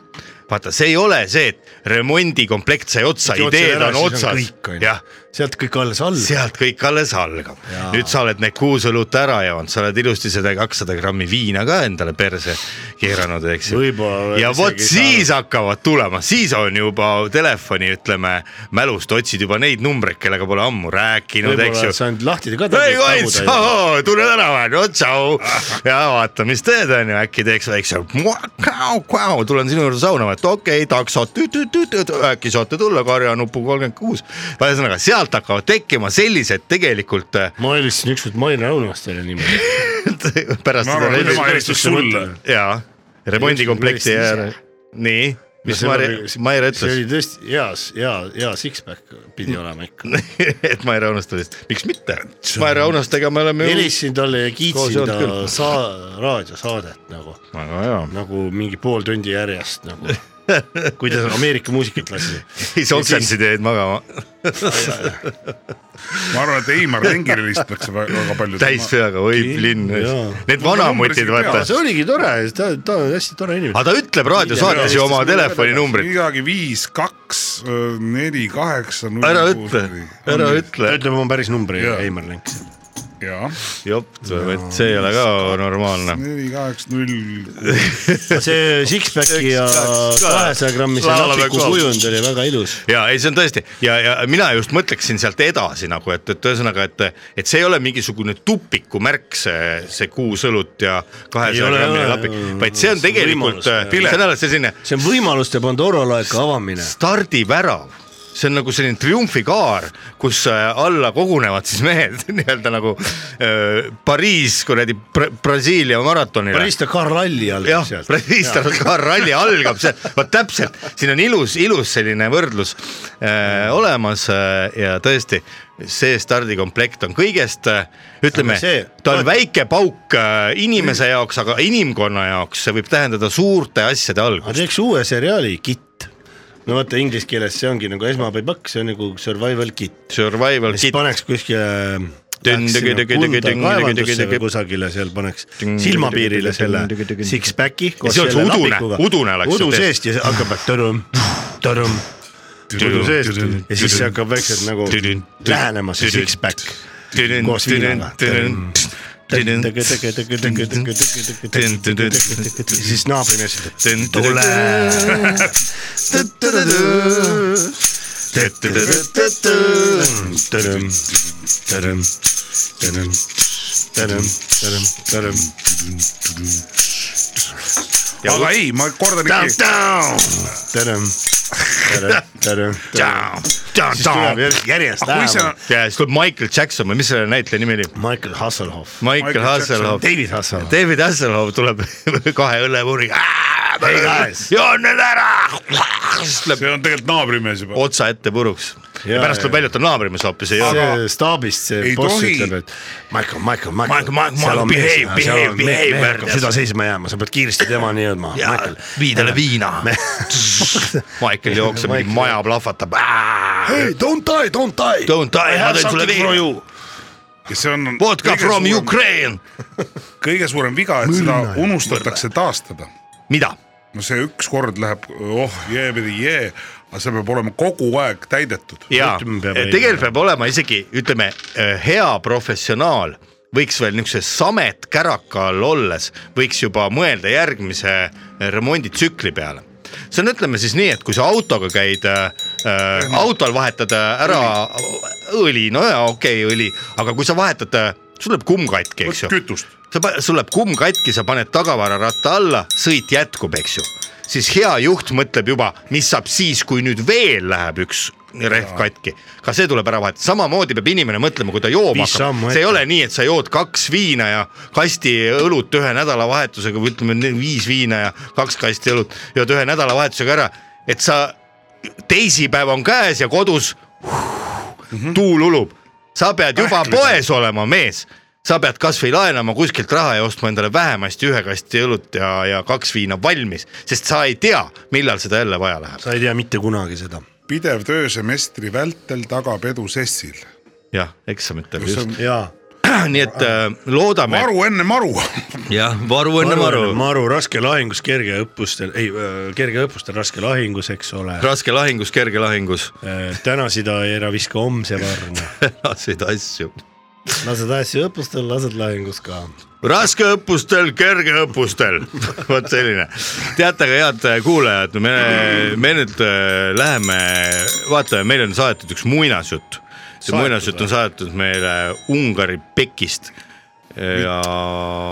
Speaker 4: vaata , see ei ole see , et remondikomplekt sai otsa , ideed on otsas , jah
Speaker 5: sealt kõik alles all .
Speaker 4: sealt kõik alles algab . nüüd sa oled need kuus õlut ära joonud , sa oled ilusti seda kakssada grammi viina ka endale perse keeranud , eks ju . ja vot siis hakkavad tulema , siis on juba telefoni , ütleme , mälust otsid juba neid numbreid , kellega pole ammu rääkinud , eks ju
Speaker 5: sa oled lahti ka .
Speaker 4: ei Kaits , tule tänavale , no
Speaker 5: <laughs>
Speaker 4: tšau . ja vaata , mis teed , onju , äkki teeks väikse , tulen sinu juurde saunama , et okei okay, , taksot , äkki saate tulla , karjanupu kolmkümmend kuus . ühesõnaga sealt hakkavad tekkima sellised tegelikult äh,
Speaker 5: ma helistasin ükskord Maire Raunastele <laughs> niimoodi .
Speaker 4: <laughs> pärast
Speaker 5: Ma arvan, et tema helistas sulle.
Speaker 4: jaa , remondikomplekti
Speaker 5: Helistas
Speaker 4: järel , nii , mis Maire , Maire
Speaker 5: see oli
Speaker 4: ütles ,
Speaker 5: tõesti heas , hea , hea six-pack pidi olema ikka .
Speaker 4: <laughs> et Maire Aunaste vist , miks mitte , Maire Aunastega me oleme ju .
Speaker 5: helistasin talle ja
Speaker 4: Koos
Speaker 5: kiitsin
Speaker 4: joonud
Speaker 5: ta
Speaker 4: küll.
Speaker 5: saa- , raadiosaadet nagu ,
Speaker 4: väga hea .
Speaker 5: nagu mingi pool tundi järjest
Speaker 4: <laughs>
Speaker 5: nagu , kuidas Ameerika muusikat lasi .
Speaker 4: siis oksendasid ja jäid magama .
Speaker 6: ma arvan , et
Speaker 4: <laughs>
Speaker 6: Heimar Lengile helistatakse vä- väga palju .
Speaker 4: Täis peaga, oi, linn. Need vanamutid, vaata.
Speaker 5: see oligi tore , ta , ta on hästi tore inimene .
Speaker 4: aga ta ütleb raadiosaates ju oma telefoninumbrit .
Speaker 6: midagi viis , kaks , neli , kaheksa .
Speaker 4: Ära ütle, ära ütle.
Speaker 5: ta ütleb oma päris numbri ,
Speaker 6: Jaa.
Speaker 5: Heimar Lenk .
Speaker 6: jah ,
Speaker 4: jopt , et see ei ole ka normaalne .
Speaker 6: neli , kaheksa , null .
Speaker 5: see six-packi ja kahesaja grammise
Speaker 4: Laulame
Speaker 5: napiku
Speaker 4: koos.
Speaker 5: kujund oli väga ilus .
Speaker 4: ja ei , see on tõesti ja , ja mina just mõtleksin sealt edasi nagu , et , et ühesõnaga , et , et see ei ole mingisugune tupiku märk , see , see kuus õlut ja
Speaker 5: Ei
Speaker 4: kahesaja
Speaker 5: ole,
Speaker 4: grammine
Speaker 5: ei ole,
Speaker 4: lapik
Speaker 5: ei ole. ,
Speaker 4: vaid see on
Speaker 5: See on
Speaker 4: tegelikult ,
Speaker 5: võimalus, jah.
Speaker 4: see on alles selline
Speaker 5: see on võimaluste Pandora laeka avamine .
Speaker 4: stardivärav see on nagu selline triumfikaar , kus äh, alla kogunevad siis mehed <laughs> nii-öelda nagu äh, Pariis kuradi Bra Brasiilia maratonile .
Speaker 5: Barista Carralli algab
Speaker 4: jah ,
Speaker 5: sealt .
Speaker 4: Reister ka ralli algab seal , vot täpselt , siin on ilus , ilus selline võrdlus äh, olemas äh, ja tõesti , see stardikomplekt on kõigest äh, , ütleme
Speaker 5: Aga see- ,
Speaker 4: ta on väike pauk äh, inimese jaoks , aga inimkonna jaoks see võib tähendada suurte asjade
Speaker 5: ma
Speaker 4: algust .
Speaker 5: teeks uue seriaali , Kitt . no vaata inglise keeles see ongi nagu esmaabipakk , see on nagu survival kit .
Speaker 4: Survival
Speaker 5: siis
Speaker 4: kit ,
Speaker 5: paneks kuskile
Speaker 4: Tüng, tüng, tüng, tüng, tüng, tüng, tüng, tüng.
Speaker 5: kusagile seal paneks
Speaker 4: Tüng,
Speaker 5: silmapiirile
Speaker 4: tüng,
Speaker 5: selle
Speaker 4: tüng, tüng, tüng.
Speaker 5: six-pack'i .
Speaker 4: Ja see oleks udune, udune oleks
Speaker 5: udu
Speaker 4: see tee-
Speaker 5: seest ja see hakkab tõrõm , tõrõm , udu seest ja siis see hakkab vaikselt nagu lähenema see six-pack koos viinaga . siis naabrimees ütleb , tule Tadam, tadam, tadam, tadam, tadam, tadam.
Speaker 6: aga ei , ma kordan ikka .
Speaker 5: Down, tadam, tadam, tadam, tadam. Siis tuleb järjest- järjest
Speaker 6: Aga kui see
Speaker 5: lähemale.
Speaker 6: on-
Speaker 4: ja siis tuleb Michael Jackson või mis selle näitleja nimi oli ?
Speaker 5: Michael Hasselhoff ,
Speaker 4: Michael Hasselhoff ,
Speaker 5: David Hasselhoff .
Speaker 4: David Hasselhoff tuleb <laughs> kahe õllepurriga .
Speaker 5: Hey guys.
Speaker 4: joon nüüd ära .
Speaker 6: see on tegelikult naabrimees juba .
Speaker 4: otsa ette puruks ja, ja
Speaker 5: Jaa,
Speaker 4: pärast
Speaker 5: jaa.
Speaker 4: tuleb välja , et on naabrimees hoopis , ei ole .
Speaker 5: see staabist see
Speaker 6: Ei
Speaker 5: boss
Speaker 6: tohi.
Speaker 5: ütleb , et Michael , Michael , Michael,
Speaker 4: Michael, Michael,
Speaker 5: seal on mees
Speaker 4: behave, ,
Speaker 5: seal
Speaker 4: behave,
Speaker 5: on mees ,
Speaker 4: behave,
Speaker 5: mees hakkab
Speaker 4: Märten.
Speaker 5: süda seisma jääma , sa pead kiiresti temani jõudma .
Speaker 4: vii talle <laughs> viina . Michael jookseb , mingi maja plahvatab .
Speaker 5: Hey , don't die , don't die .
Speaker 4: Don't die , ma teen sulle viina .
Speaker 6: ja see on .
Speaker 4: Vodka from . Ukraine .
Speaker 6: kõige suurem viga , et seda unustatakse taastada .
Speaker 4: mida ?
Speaker 6: no see ükskord läheb , oh jee , jee , aga see peab olema kogu aeg täidetud .
Speaker 4: ja
Speaker 5: Ütleme, peab õige.
Speaker 4: Äh, tegelikult peab olema isegi , ütleme , hea professionaal võiks veel niisuguse samet käraka all olles , võiks juba mõelda järgmise äh, remonditsükli peale see on , ütleme siis nii , et kui sa autoga käid äh, , äh, autol vahetad äh, ära õli , no jaa , okei okay, , õli , aga kui sa vahetad äh, , sul läheb kumm katki , eks ju .
Speaker 6: kütust .
Speaker 4: sa pa- , sul läheb kumm katki , sa paned tagavararatta alla , sõit jätkub , eks ju . siis hea juht mõtleb juba , mis saab siis , kui nüüd veel läheb üks rehv katki . ka see tuleb ära vahetada , samamoodi peab inimene mõtlema , kui ta jooma
Speaker 5: Viis
Speaker 4: hakkab
Speaker 5: sammu .
Speaker 4: see ei
Speaker 5: ette.
Speaker 4: ole nii , et sa jood kaks viina ja kasti õlut ühe nädalavahetusega või ütleme ne- viis viina ja kaks kasti õlut jood ühe nädalavahetusega ära , et sa , teisipäev on käes ja kodus tuul ulub , sa pead juba poes olema mees , sa pead kasvõi laenama kuskilt raha ja ostma endale vähemasti ühe kasti õlut ja , ja kaks viina valmis , sest sa ei tea , millal seda jälle vaja läheb .
Speaker 5: sa ei tea mitte kunagi seda .
Speaker 6: pidev töö semestri vältel tagab edu sessil .
Speaker 4: jah , eksamite
Speaker 6: Kus
Speaker 4: just
Speaker 6: on- . Jaa.
Speaker 4: <clears throat> nii et äh, loodame .
Speaker 6: varu enne
Speaker 9: <laughs>
Speaker 6: maru .
Speaker 4: jah , varu enne maru .
Speaker 5: maru raske lahingus , kerge õppustel , ei , kerge õppustel raske lahingus , eks ole .
Speaker 4: raske lahingus , kerge lahingus . <laughs>
Speaker 5: täna sida ei ära viska homse varna .
Speaker 4: laseid asju .
Speaker 5: lased asju õppustel , lased lahingus ka .
Speaker 4: raske õppustel , kerge õppustel , <laughs> vot selline . teate , aga head kuulajad , me , me nüüd äh, läheme , vaatame , meile on saadetud üks muinasjutt . see
Speaker 11: Saadetud
Speaker 4: muinasjutt on saadetud meile Ungari Pekist . ja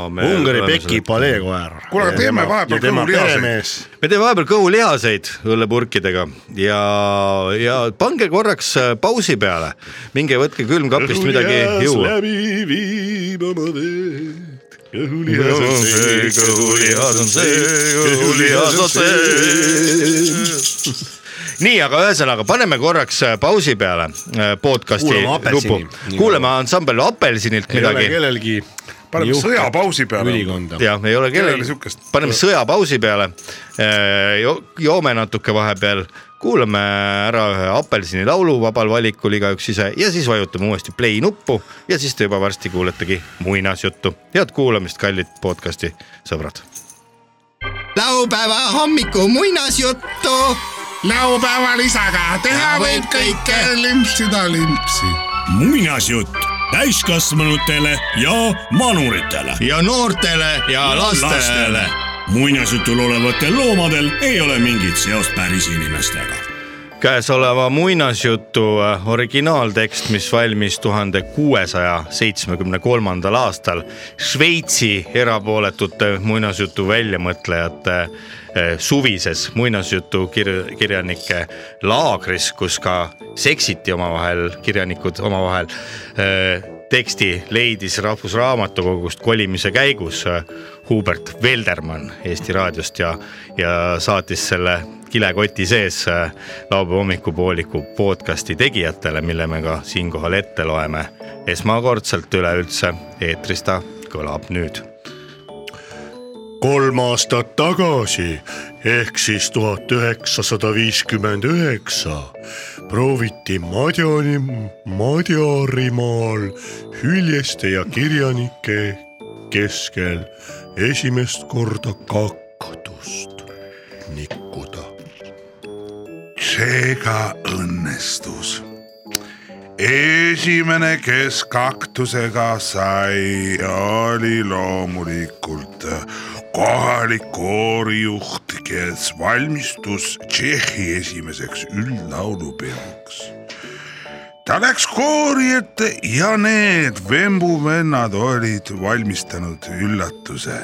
Speaker 4: me .
Speaker 5: Ungari peki . paleekoer .
Speaker 6: Kuule, aga teeme vahepeal kõhulihaseid.
Speaker 4: me teeme vahepeal kõhulihaseid õllepurkidega ja , ja pange korraks äh, pausi peale , minge võtke külmkapist midagi juua .
Speaker 7: kõhulihas on see , kõhulihas on see , kõhulihas on see .
Speaker 4: nii , aga ühesõnaga paneme korraks äh, pausi peale äh, podcast'i
Speaker 5: Kuulame Apelsini.
Speaker 4: lupu
Speaker 5: Nii .
Speaker 4: kuulame ansambel Apelsinilt
Speaker 5: ei ole
Speaker 4: midagi .
Speaker 5: kellelgi .
Speaker 6: paneme sõjapausi peale. ülikonda.
Speaker 4: jah , ei ole
Speaker 6: Kellel
Speaker 4: Noh. kellelgi , paneme sõjapausi peale Äh, jo, , joome natuke vahepeal , kuulame ära ühe Apelsini laulu vabal valikul igaüks ise ja siis vajutame uuesti play nuppu ja siis te juba varsti kuuletegi muinasjuttu . head kuulamist , kallid podcast'i sõbrad .
Speaker 12: laupäeva hommiku muinasjuttu .
Speaker 6: laupäeva lisaga teha võib kõike limpsida limpsi .
Speaker 13: muinasjutt täiskasvanutele ja manuritele .
Speaker 4: ja noortele ja lastele.
Speaker 13: muinasjutul olevatel loomadel ei ole mingit seost päris inimestega .
Speaker 4: käesoleva muinasjutu äh, originaaltekst , mis valmis tuhande kuuesaja seitsmekümne kolmandal aastal Šveitsi erapooletute muinasjutu väljamõtlejate eh, suvises muinasjutu kir kirjanike laagris , kus ka seksiti omavahel , kirjanikud omavahel . teksti leidis Rahvusraamatukogust kolimise käigus eh, Hubert Veldermann Eesti Raadiost ja , ja saatis selle kilekoti sees äh, laupäeva hommikupooliku podcasti tegijatele , mille me ka siinkohal ette loeme . esmakordselt üleüldse eetris ta kõlab nüüd .
Speaker 9: kolm aastat tagasi ehk siis tuhat üheksasada viiskümmend üheksa prooviti Madjani , Madjarimaal hüljeste ja kirjanike keskel esimest korda kaktus nikuda .
Speaker 6: seega õnnestus . esimene , kes kaktusega sai , oli loomulikult kohalik koorijuht , kes valmistus Tšehhi esimeseks üldlaulupeoks . ta läks koori ette ja need vembuvennad olid valmistanud üllatuse .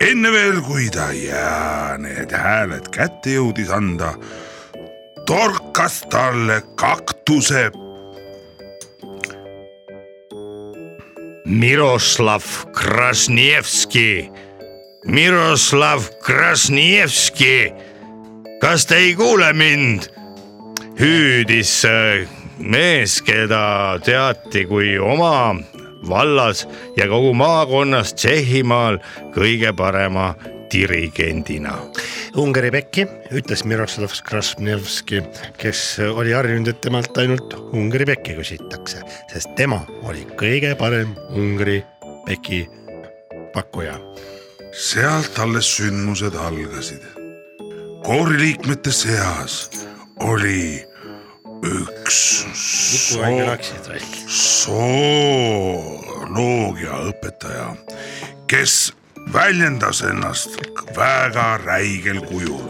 Speaker 6: enne veel , kui ta ja need hääled kätte jõudis anda , torkas talle kaktuse .
Speaker 11: Miroslav Krasnievski , Miroslav Krasnievski , kas te ei kuule mind ? hüüdis äh, mees , keda teati kui oma vallas ja kogu maakonnas Tšehhimaal kõige parema dirigendina
Speaker 5: Ungari pekki , ütles Miroslav Krasnevski , kes oli harjunud , et temalt ainult Ungari pekki küsitakse , sest tema oli kõige parem Ungari peki pakkuja .
Speaker 6: sealt alles sündmused algasid . kooriliikmete seas oli üks
Speaker 5: ainult
Speaker 6: soo-
Speaker 5: läksid
Speaker 6: zooloogia õpetaja , kes väljendas ennast väga räigel kujul .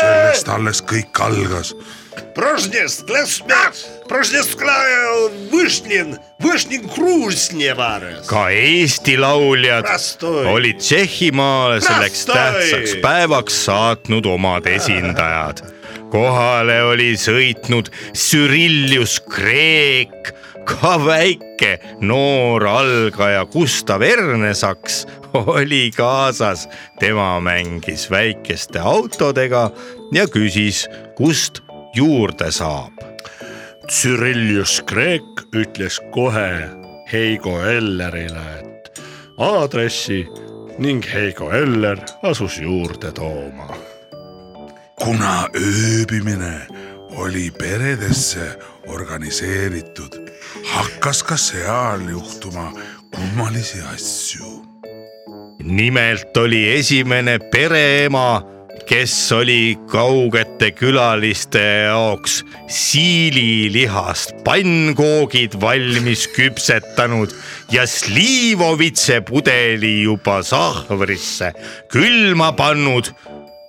Speaker 6: sellest alles kõik algas
Speaker 14: Прожнест, лесмет, прожнест вышнин, вышнин крузневары.
Speaker 4: ka Eesti lauljad
Speaker 14: Prastoi.
Speaker 4: olid Tšehhimaale selleks
Speaker 14: Prastoi.
Speaker 4: tähtsaks päevaks saatnud omad esindajad . kohale oli sõitnud Cyrillius Kreek , ka väike noor algaja Gustav Ernesaks oli kaasas . tema mängis väikeste autodega ja küsis , kust juurde saab .
Speaker 9: Tsürillius Kreek ütles kohe Heigo Ellerile , et aadressi ning Heigo Eller asus juurde tooma .
Speaker 6: kuna ööbimine oli peredesse organiseeritud , hakkas ka seal juhtuma kummalisi asju .
Speaker 4: nimelt oli esimene pereema , kes oli kaugete külaliste jaoks siililihast pannkoogid valmis küpsetanud ja Slivovitse pudeli juba sahvrisse külma pannud .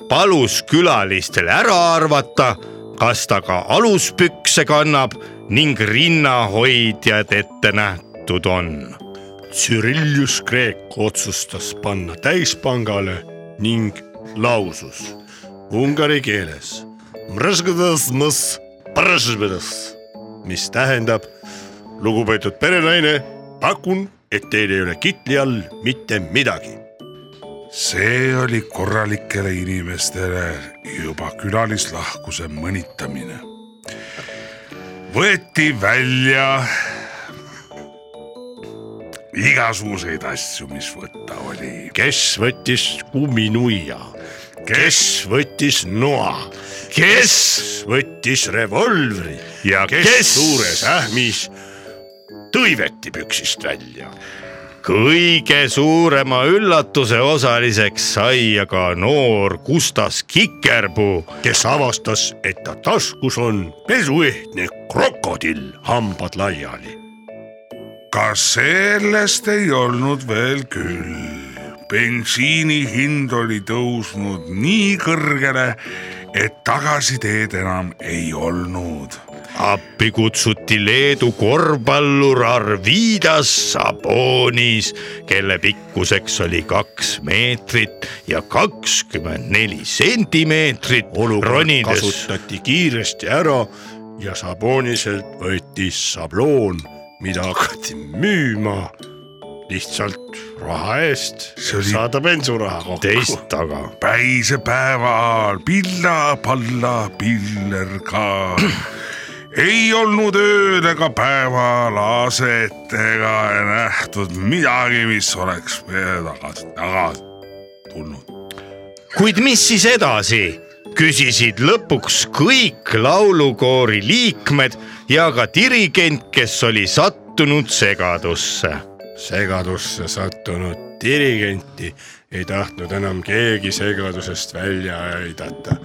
Speaker 4: palus külalistel ära arvata , kas ta ka aluspükse kannab ning rinnahoidjad ette nähtud on
Speaker 9: Tsürillius Kreek otsustas panna täispangale ning lausus ungari keeles , mis tähendab , lugupeetud perenaine , pakun , et teil ei ole kitli all mitte midagi .
Speaker 6: see oli korralikele inimestele juba külalislahkuse mõnitamine . võeti välja igasuguseid asju , mis võtta oli .
Speaker 9: kes võttis kumminuia , kes võttis noa , kes võttis revolvri
Speaker 4: ja
Speaker 9: kes,
Speaker 4: kes-
Speaker 9: kes suures ähmis tõiveti püksist välja .
Speaker 4: kõige suurema üllatuse osaliseks sai aga noor Gustas Kikerpuu ,
Speaker 9: kes avastas , et ta taskus on pesuehtne krokodill , hambad laiali .
Speaker 6: ka sellest ei olnud veel küll . bensiini hind oli tõusnud nii kõrgele , et tagasiteed enam ei olnud .
Speaker 4: appi kutsuti Leedu korvpallur Arvidas Sabonis , kelle pikkuseks oli kaks meetrit ja kakskümmend neli sentimeetrit .
Speaker 9: kasutati kiiresti ära ja Saboniselt võeti sabloon , mida hakati müüma lihtsalt raha eest ,
Speaker 6: oli-
Speaker 9: saada bensuraha kokku .
Speaker 4: teist taga .
Speaker 6: päise päeva ajal pilla-palla piller ka ei olnud ööl ega päeval aset ega ei nähtud midagi , mis oleks veel tagasi , tagasi tulnud .
Speaker 4: kuid mis siis edasi ? küsisid lõpuks kõik laulukoori liikmed ja ka dirigent , kes oli sattunud segadusse .
Speaker 9: segadusse sattunud dirigenti ei tahtnud enam keegi segadusest välja aidata .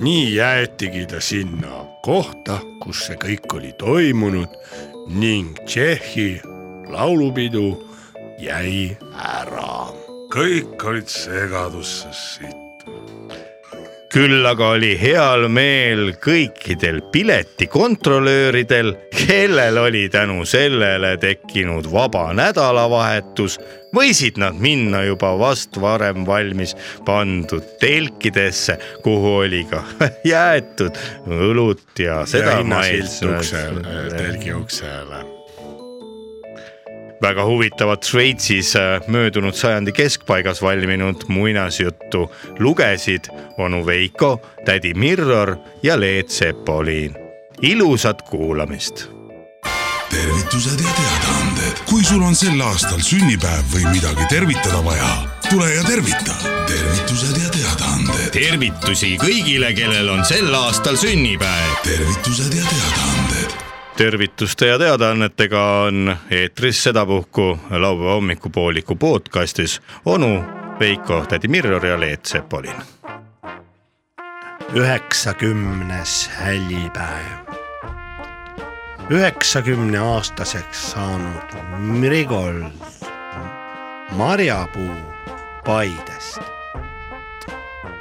Speaker 9: nii jäetigi ta sinna kohta , kus see kõik oli toimunud ning Tšehhi laulupidu jäi ära .
Speaker 6: kõik olid segaduses siit .
Speaker 4: küll aga oli heal meel kõikidel piletikontrolööridel , kellel oli tänu sellele tekkinud vaba nädalavahetus , võisid nad minna juba vast varem valmis pandud telkidesse , kuhu oli ka <laughs> jäetud õlut ja seda
Speaker 9: ja hinnasilt
Speaker 4: maitse-
Speaker 9: uksele ,
Speaker 5: äh,
Speaker 9: telgi uksele .
Speaker 4: väga huvitavat Šveitsis äh, möödunud sajandi keskpaigas valminud muinasjuttu lugesid onu Veiko , tädi Mirror ja Leet Sepoliin . ilusat kuulamist .
Speaker 15: tervitused ja teadaanded . kui sul on sel aastal sünnipäev või midagi tervitada vaja , tule ja tervita . tervitused ja teadaanded .
Speaker 1: tervitusi kõigile , kellel on sel aastal sünnipäev .
Speaker 15: tervitused ja teadaanded .
Speaker 4: tervituste ja teadaannetega on eetris sedapuhku laupäeva hommikupooliku podcastis onu Veiko , tädi Mirror ja Leet Sepoliin .
Speaker 5: üheksakümnes hällipäev . üheksakümne aastaseks saanud Mrigold Marjapuu Paidest .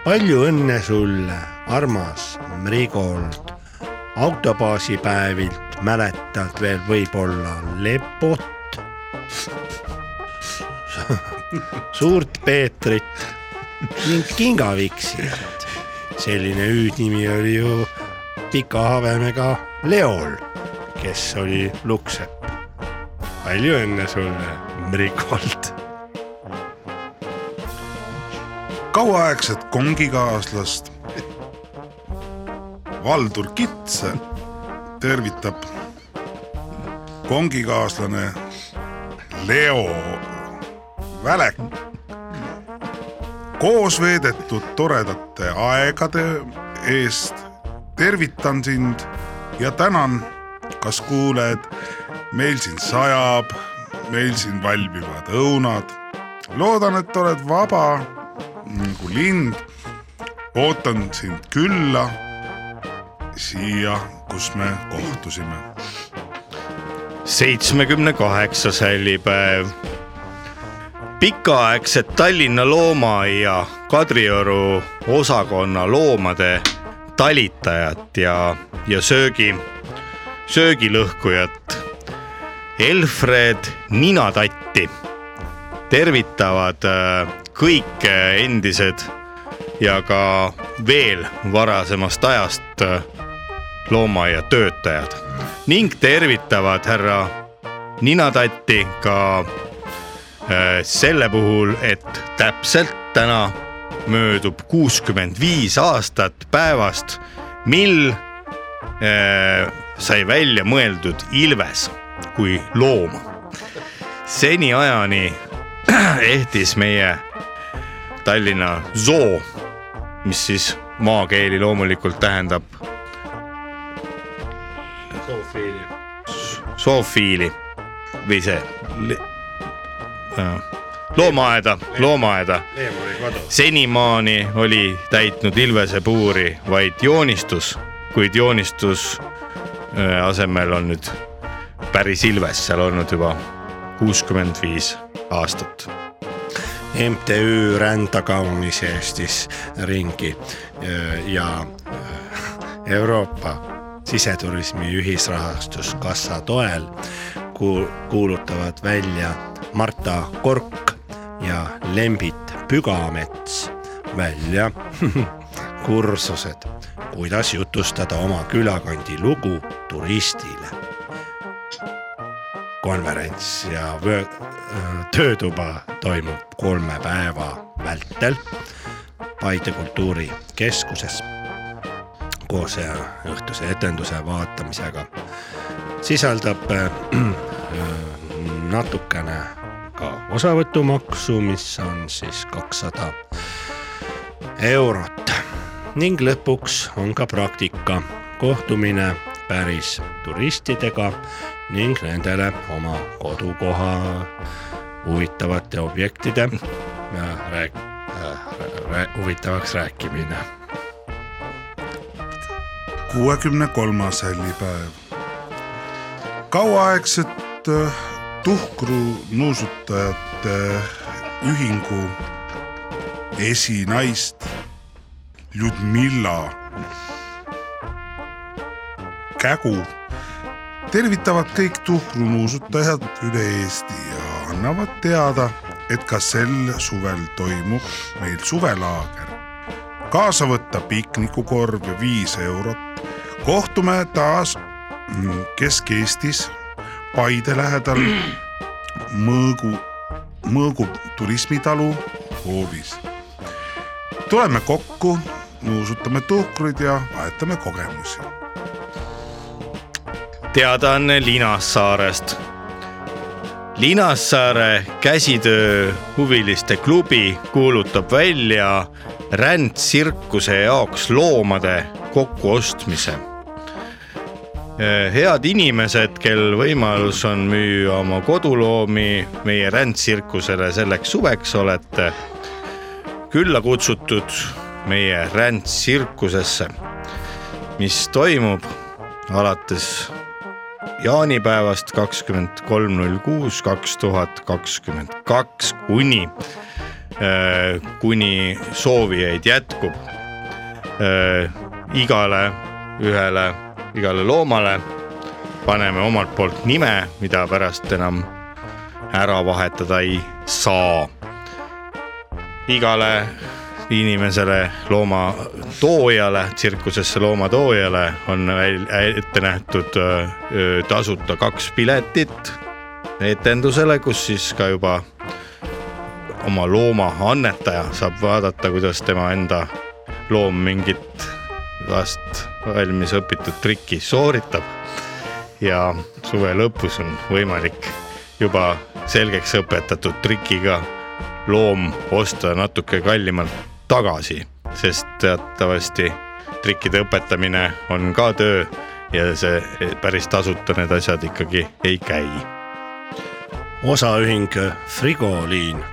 Speaker 5: palju õnne sulle , armas Mrigold . autobaasipäevilt mäletad veel võib-olla lepot , <laughs> suurt Peetrit ning kingaviksit . selline hüüdnimi oli ju pika habemega Leol , kes oli Luksepp . palju õnne sulle , Mrikolt .
Speaker 6: kauaaegset kongikaaslast Valdur Kits tervitab kongikaaslane Leo Välek . koos veedetud toredate aegade eest tervitan sind ja tänan , kas kuuled , meil siin sajab , meil siin valmivad õunad . loodan , et oled vaba nagu lind . ootan sind külla siia , kus me kohtusime .
Speaker 4: seitsmekümne kaheksas hällipäev . pikaaegset Tallinna loomaaia Kadrioru osakonna loomade talitajat ja , ja söögi , söögilõhkujat Elfred Ninatatti tervitavad äh, kõik äh, endised ja ka veel varasemast ajast äh, loomaaia töötajad ning tervitavad härra Ninatatti ka äh, selle puhul , et täpselt täna möödub kuuskümmend viis aastat päevast , mil äh, sai välja mõeldud ilves kui looma . seniajani <clears throat> ehtis meie Tallinna zoo , mis siis maakeeli loomulikult tähendab zoofiili või see le- äh, loomaaeda , loomaaeda . senimaani oli täitnud ilvese puuri vaid joonistus , kuid joonistus äh, asemel on nüüd päris ilves seal olnud juba kuuskümmend viis aastat .
Speaker 5: MTÜ Rända kaunis Eestis ringi öö, ja öö, Euroopa siseturismi ühisrahastuskassa toel ku- kuulutavad välja Marta Kork ja Lembit Pügamets välja <laughs> kursused , kuidas jutustada oma külakandi lugu turistile . konverents ja vöö- äh, töötuba toimub kolme päeva vältel Paide kultuurikeskuses koos äh, õhtuse etenduse vaatamisega . sisaldab äh, äh, natukene ka osavõtumaksu , mis on siis kakssada eurot ning lõpuks on ka praktika , kohtumine päris turistidega ning nendele oma kodukoha huvitavate objektide äh, rääk- , rää, huvitavaks rääkimine .
Speaker 6: kuuekümne kolmas hällipäev . kauaaegset äh, tuhkrunuusutajate ühingu esinaist Ljudmilla Kägu tervitavad kõik tuhkrunuusutajad üle Eesti ja annavad teada , et ka sel suvel toimub meil suvelaager . kaasa võtta piknikukorv ja viis eurot . kohtume taas mm, Kesk-Eestis Paide lähedal Mõõgu , Mõõgu turismitalu hoovis . tuleme kokku , nuusutame tuhkruid ja vahetame kogemusi .
Speaker 4: teadaanne Linassaarest . Linassaare käsitöö huviliste klubi kuulutab välja rändtsirkuse jaoks loomade kokkuostmise . head inimesed , kel võimalus on müüa oma koduloomi meie rändtsirkusele selleks suveks , olete külla kutsutud meie rändtsirkusesse , mis toimub alates jaanipäevast kakskümmend kolm null kuus kaks tuhat kakskümmend kaks kuni , kuni soovijaid jätkub Äh, igale ühele , igale loomale paneme omalt poolt nime , mida pärast enam ära vahetada ei saa . igale inimesele , loomatoojale , tsirkusesse loomatoojale on väl- ette nähtud öö, öö, tasuta kaks piletit etendusele , kus siis ka juba oma looma annetaja saab vaadata , kuidas tema enda loom mingit last valmis õpitud trikki sooritab . ja suve lõpus on võimalik juba selgeks õpetatud trikiga loom osta natuke kallimalt tagasi , sest teatavasti trikkide õpetamine on ka töö ja see päris tasuta need asjad ikkagi ei käi .
Speaker 5: osaühing Frigoliin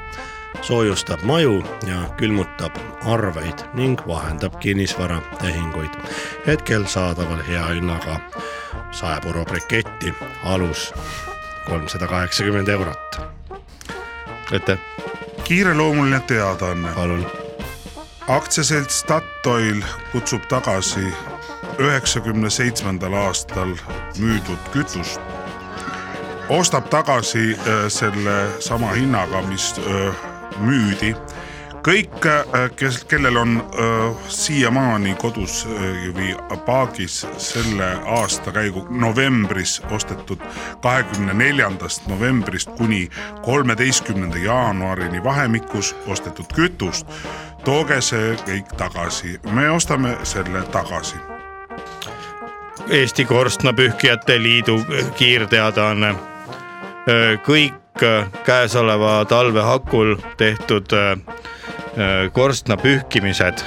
Speaker 5: soojustab maju ja külmutab arveid ning vahendab kinnisvaratehinguid . hetkel saadaval hea hinnaga saepuru briketti alus kolmsada kaheksakümmend eurot .
Speaker 4: aitäh .
Speaker 6: kiireloomuline teadaanne .
Speaker 5: palun .
Speaker 6: aktsiaselts Statoil kutsub tagasi üheksakümne seitsmendal aastal müüdud kütust . ostab tagasi äh, selle sama hinnaga , mis äh, müüdi . kõik , kes , kellel on äh, siiamaani kodus äh, või paagis selle aasta käigu novembris ostetud kahekümne neljandast novembrist kuni kolmeteistkümnenda jaanuarini vahemikus ostetud kütust , tooge see kõik tagasi , me ostame selle tagasi .
Speaker 4: Eesti Korstnapühkijate Liidu kiirteadaanne . kõik äh, käesoleva talve hakul tehtud öö, korstnapühkimised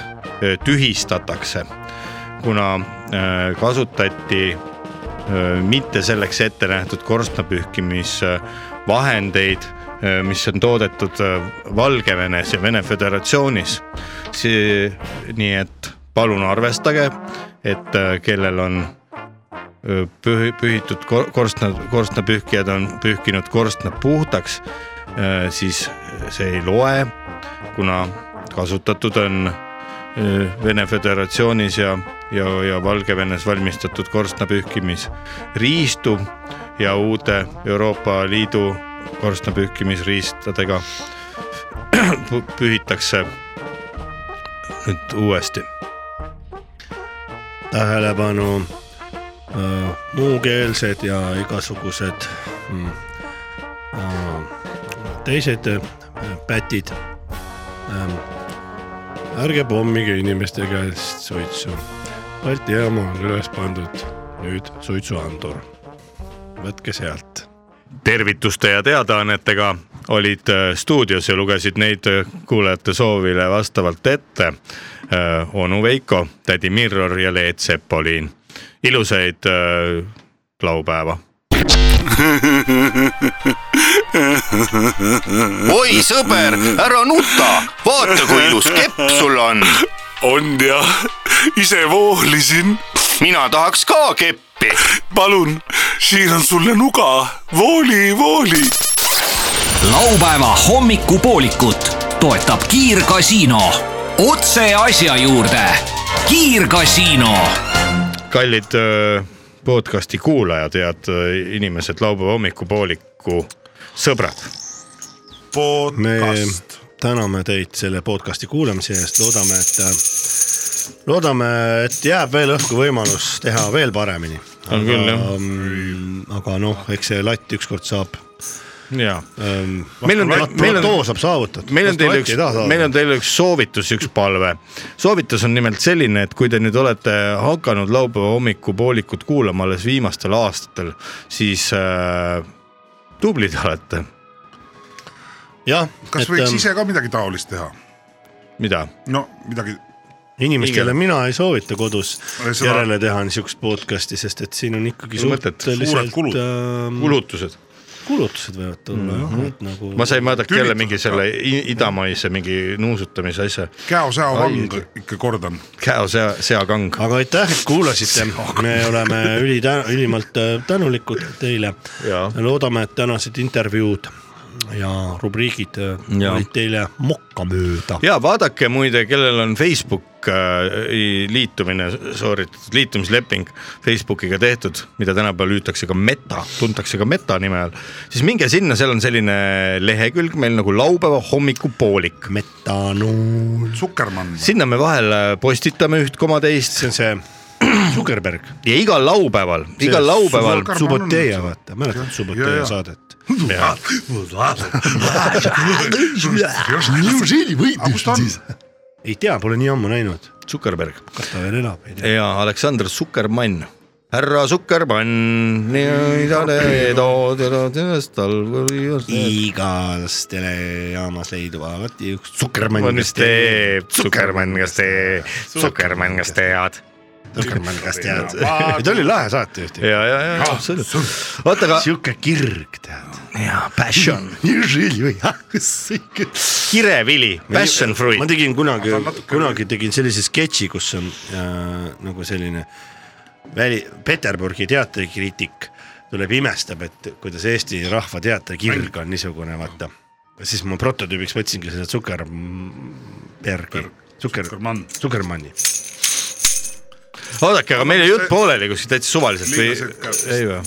Speaker 4: öö, tühistatakse , kuna öö, kasutati öö, mitte selleks ette nähtud korstnapühkimisvahendeid , mis on toodetud öö, Valgevenes ja Vene Föderatsioonis . nii et palun arvestage , et öö, kellel on pühi- , pühitud kor- korstna , korstnapühkijad on pühkinud korstna puhtaks , siis see ei loe , kuna kasutatud on öö, Vene Föderatsioonis ja , ja , ja Valgevenes valmistatud korstnapühkimisriistu ja uute Euroopa Liidu korstnapühkimisriistadega <clears throat> pü- pühitakse nüüd uuesti .
Speaker 5: tähelepanu äh, muukeelsed ja igasugused mm, äh, teised äh, pätid ähm, . ärge pommige inimeste käest suitsu . Balti jaama on üles pandud nüüd suitsuandur . võtke sealt .
Speaker 4: tervituste ja teadaannetega olid äh, stuudios ja lugesid neid äh, kuulajate soovile vastavalt ette äh, onu Veiko , tädi Mirror ja Leet Sepolin . ilusaid äh, laupäeva .
Speaker 1: oi sõber , ära nuta , vaata kui ilus kepp sul on .
Speaker 2: on jah , ise voolisin .
Speaker 1: mina tahaks ka keppi .
Speaker 2: palun , siin on sulle nuga , vooli , vooli
Speaker 3: laupäeva hommikupoolikut toetab Kiirgasiino . otse asja juurde . kiirgasiino
Speaker 4: kallid äh, podcast'i kuulajad , head äh, inimesed , laupäeva hommikupooliku sõbrad .
Speaker 5: me täname teid selle podcast'i kuulamise eest , loodame , et , loodame , et jääb veel õhku võimalus teha veel paremini .
Speaker 4: On küll, jah. .
Speaker 5: aga noh , eks see latt ükskord saab .
Speaker 4: ja
Speaker 5: meil on , meil on . platoo saab saavutatud .
Speaker 4: meil on teile üks , meil on teile üks soovitus , üks palve . soovitus on nimelt selline , et kui te nüüd olete hakanud laupäeva hommikupoolikut kuulama alles viimastel aastatel , siis äh, tublid olete .
Speaker 5: jah . ähm,
Speaker 6: kas võiks ise ka midagi taolist teha ?
Speaker 4: mida ?
Speaker 6: no midagi . Igel-
Speaker 5: inimestele mina ei soovita kodus
Speaker 6: Seda-
Speaker 5: järele teha niisugust podcast'i , sest et siin on ikkagi
Speaker 4: Ei mõtet. Suured
Speaker 5: suhteliselt
Speaker 4: kulud.
Speaker 5: ähm,
Speaker 4: kulutused .
Speaker 5: kulutused võivad tulla jah , et nagu .
Speaker 4: Mhm. ma sain vaadata jälle mingi selle i- idamaise mingi nuusutamise asja .
Speaker 6: käo-säo
Speaker 4: Ai.
Speaker 6: vang ikka kordan .
Speaker 4: käo-sea , seakang .
Speaker 5: aga aitäh , et
Speaker 4: <laughs>
Speaker 5: kuulasite , me oleme üli , ülimalt äh, tänulikud teile . loodame , et tänased intervjuud ja rubriigid äh,
Speaker 4: Ja.
Speaker 5: olid teile mokkamööda .
Speaker 4: ja vaadake muide , kellel on Facebook äh, i- liitumine sooritatud , liitumisleping Facebookiga tehtud , mida tänapäeval hüütakse ka meta , tuntakse ka meta nime all , siis minge sinna , seal on selline lehekülg meil nagu laupäeva hommikupoolik .
Speaker 5: metanool .
Speaker 6: Sukermann .
Speaker 4: sinna me vahel äh, postitame üht koma teist .
Speaker 5: see <clears throat> on see Zuckerberg .
Speaker 4: ja igal laupäeval , igal laupäeval .
Speaker 5: Suboteja , vaata , mäletad Suboteja saadet ? New Zealand võitis siis . ei tea , pole nii ammu näinud .
Speaker 4: Zuckerberg .
Speaker 5: kas ta veel elab ?
Speaker 4: ja Aleksander Zuckermann , härra Zuckermann .
Speaker 5: igas telejaamas leiduvad üks Zuckermann .
Speaker 4: on vist tee , Zuckermann , kas te , Zuckermann , kas tead ?
Speaker 5: Zuckermann , kas tead ? <laughs> ta oli lahe saatejuht .
Speaker 4: ja , ja , ja
Speaker 5: Ah,
Speaker 4: absoluutselt . oota , aga .
Speaker 5: sihuke kirg tead .
Speaker 4: jaa ,
Speaker 5: <laughs>
Speaker 4: passion .
Speaker 5: New Zealand võitis .
Speaker 4: kirevili , passion fruit .
Speaker 5: ma tegin kunagi , kunagi tegin sellise sketši , kus on äh, nagu selline väli , Peterburgi teatrikriitik tuleb , imestab , et kuidas Eesti rahva teatrikirg on niisugune , vaata . siis ma prototüübiks võtsingi selle Zuckerbergi , Zucker , Zuckermanni .
Speaker 4: oodake , aga meil jäi jutt pooleli kuskil täitsa suvaliselt või
Speaker 5: Linnased ka. ?
Speaker 4: ei või ?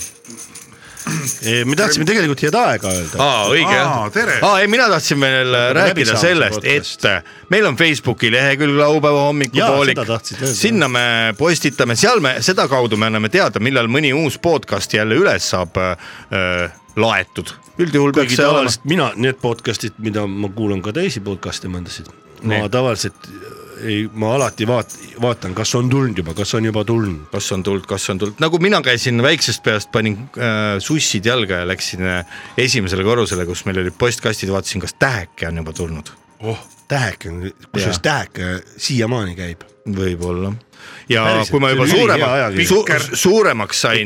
Speaker 5: me tahtsime tegelikult head aega öelda .
Speaker 4: aa , õige jah . aa , ei , mina tahtsin veel rääkida
Speaker 5: läbisaamise
Speaker 4: sellest , et äh, meil on Facebooki lehekülg laupäeva hommikupoolik
Speaker 5: Jaa, seda tahtsid öelda, .
Speaker 4: sinna me postitame , seal me sedakaudu me anname teada , millal mõni uus podcast jälle üles saab äh, laetud . üldjuhul peaks
Speaker 5: kuigi
Speaker 4: see olema .
Speaker 5: tavaliselt mina , need podcast'id , mida ma kuulan ka teisi podcast'e mõndasid , ma
Speaker 4: Nii.
Speaker 5: tavaliselt eh, ei , ma alati vaat- , vaatan , kas on tulnud juba , kas on juba tulnud .
Speaker 4: kas on tulnud , kas on tulnud , nagu mina käisin väiksest peast , panin äh, sussid jalga ja läksin äh, esimesele korrusele , kus meil olid postkastid , vaatasin , kas täheke on juba tulnud .
Speaker 5: oh , tähek on , kusjuures
Speaker 4: Jaa.
Speaker 5: tähek siiamaani käib .
Speaker 4: võib-olla . ja Päriselt, kui ma juba suuremaks su, , suuremaks sain ,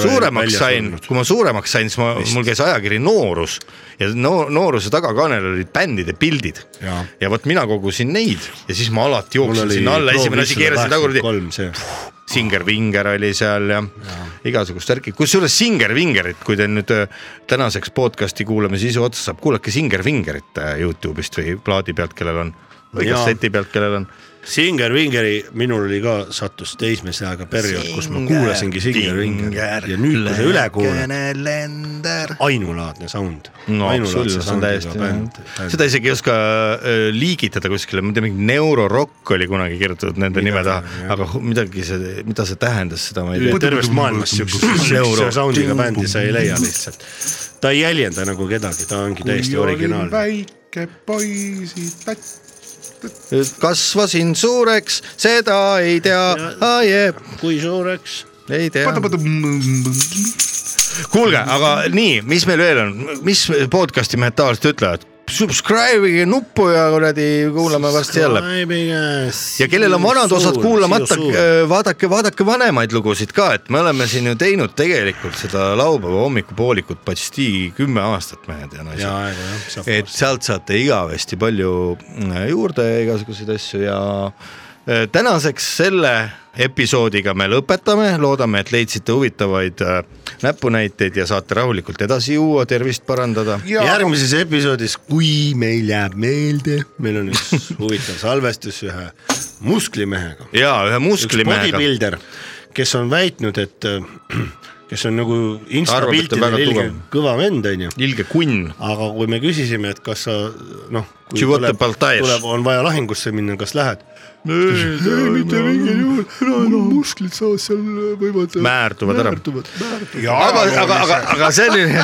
Speaker 4: suuremaks sain , kui ma suuremaks sain , siis ma , mul käis ajakiri Noorus ja no, Nooruse tagakaanel olid bändide pildid
Speaker 5: Jaa.
Speaker 4: ja vot mina kogusin neid ja siis ma alati
Speaker 5: Mul
Speaker 4: jooksin
Speaker 5: oli
Speaker 4: sinna alla ,
Speaker 5: Pro
Speaker 4: esimene asi
Speaker 5: 583
Speaker 4: keerasin tagurpidi .
Speaker 5: see .
Speaker 4: Singer Vinger oli seal ja, ja. igasugust värki , kusjuures Singer Vingerit , kui teil nüüd öö, tänaseks podcast'i kuulamise sisu otsa saab , kuulake Singer Vingerit äh, Youtube'ist või plaadi pealt , kellel on või
Speaker 5: Jaa.
Speaker 4: kasseti pealt , kellel on .
Speaker 5: Singer Vingeri , minul oli ka , sattus teismelise ajaga periood , kus ma kuulasingi Singer Vingeri ja nüüd , kui sa üle kuulad , ainulaadne sound .
Speaker 4: no absoluutselt , see on täiesti , seda isegi ei oska öö, liigitada kuskile , ma ei tea , mingi neurorock oli kunagi kirjutatud nende nime taha , aga hu- midagi see , mida see tähendas , seda ma ei tea .
Speaker 5: tervest maailmast siukest siukse soundiga bändi sa ei leia lihtsalt . ta ei jäljenda nagu kedagi , ta ongi täiesti originaalne .
Speaker 6: väike poisi tats .
Speaker 4: kasvasin suureks , seda ei tea , aie .
Speaker 5: kui suureks ?
Speaker 4: ei tea . kuulge , aga nii , mis meil veel on , mis podcast'i mehed tavaliselt ütlevad ? Subscribe'ige nuppu ja kuradi kuulame varsti jälle . ja kellel on vanad osad kuulamata , äh, vaadake , vaadake vanemaid lugusid ka , et me oleme siin ju teinud tegelikult seda laupäeva hommikupoolikut patsti kümme aastat , mehed ja naised .
Speaker 5: jaa , aega jah , saab .
Speaker 4: et sealt saate igavesti palju äh, juurde ja igasuguseid asju ja äh, tänaseks selle episoodiga me lõpetame , loodame , et leidsite huvitavaid äh, näpunäiteid ja saate rahulikult edasi juua , tervist parandada .
Speaker 5: järgmises episoodis , kui meil jääb meelde , meil
Speaker 4: <laughs>
Speaker 5: on üks huvitav salvestus ühe musklimehega .
Speaker 4: ja ühe
Speaker 5: üks
Speaker 4: musklimehega .
Speaker 5: bodybuilder , kes on väitnud , et äh, <clears throat> kes on nagu
Speaker 4: Arvab, et ta on
Speaker 5: instapiltidel
Speaker 4: väga
Speaker 5: ilge
Speaker 4: tugev.
Speaker 5: kõva vend , onju .
Speaker 4: ilge kunn .
Speaker 5: aga kui me küsisime , et kas sa noh , kui
Speaker 4: Života
Speaker 5: tuleb,
Speaker 4: Baltajev.
Speaker 5: tuleb , on vaja lahingusse minna , kas lähed ?
Speaker 4: ei ,
Speaker 5: mitte mingil juhul , mul on musklid saas seal võivad .
Speaker 4: Määrduvad ära.
Speaker 5: määrduvad ,
Speaker 4: aga , aga , aga , aga selline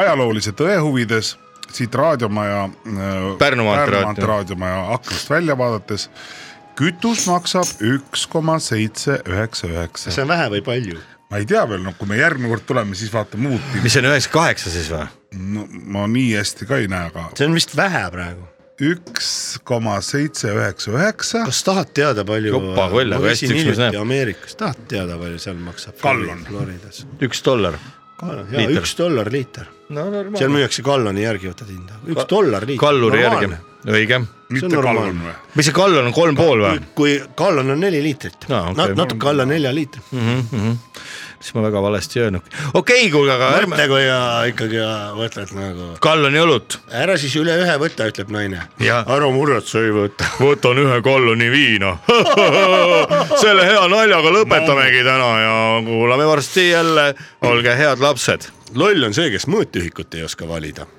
Speaker 6: ajaloolise tõe huvides siit raadiomaja ,
Speaker 4: Pärnu maantee
Speaker 6: maantee
Speaker 4: raadio.
Speaker 6: raadiomaja aknast välja vaadates , kütus maksab üks koma seitse üheksa üheksa .
Speaker 5: kas see on vähe või palju ?
Speaker 6: ma ei tea veel , noh , kui me järgmine kord tuleme , siis vaatame uut
Speaker 4: mis see on üheksa kaheksa siis või ?
Speaker 6: no ma nii hästi ka ei näe , aga
Speaker 5: see on vist vähe praegu .
Speaker 6: üks koma seitse üheksa üheksa .
Speaker 5: kas tahad teada , palju äh,
Speaker 4: Jopa koll, aga
Speaker 5: ma
Speaker 4: hästi,
Speaker 5: käisin
Speaker 4: üks mees
Speaker 5: hiljuti
Speaker 4: näeb.
Speaker 5: Ameerikas , tahad teada , palju seal maksab ?
Speaker 6: Gallon.
Speaker 5: Floridas .
Speaker 4: üks dollar .
Speaker 5: jaa ,
Speaker 4: Liiter.
Speaker 5: üks dollar liiter .
Speaker 4: no normaalne
Speaker 5: seal . müüakse galloni järgi , võtad hinda . üks dollar liiter .
Speaker 4: kalluri järgi , õige .
Speaker 5: Mitte normaalne. gallon või?
Speaker 4: või see gallon on kolm pool või ?
Speaker 5: kui gallon on neli liitrit
Speaker 4: Aa, okei.
Speaker 5: Nat- natuke alla nelja liitri .
Speaker 4: mm . -hmm. siis ma väga valesti ei öelnud . okei okay, , kuulge , aga ärme ,
Speaker 5: mõtle , kui ja, ikkagi ja, võtad nagu ,
Speaker 4: galloni õlut .
Speaker 5: ära siis üle ühe võta , ütleb naine .
Speaker 4: Ja.
Speaker 5: Aro Murrat , sa ei võta .
Speaker 4: võtan ühe galloni viina . <laughs> selle hea naljaga lõpetamegi täna ja kuulame varsti jälle . olge head lapsed .
Speaker 5: loll on see , kes mõõtühikut ei oska valida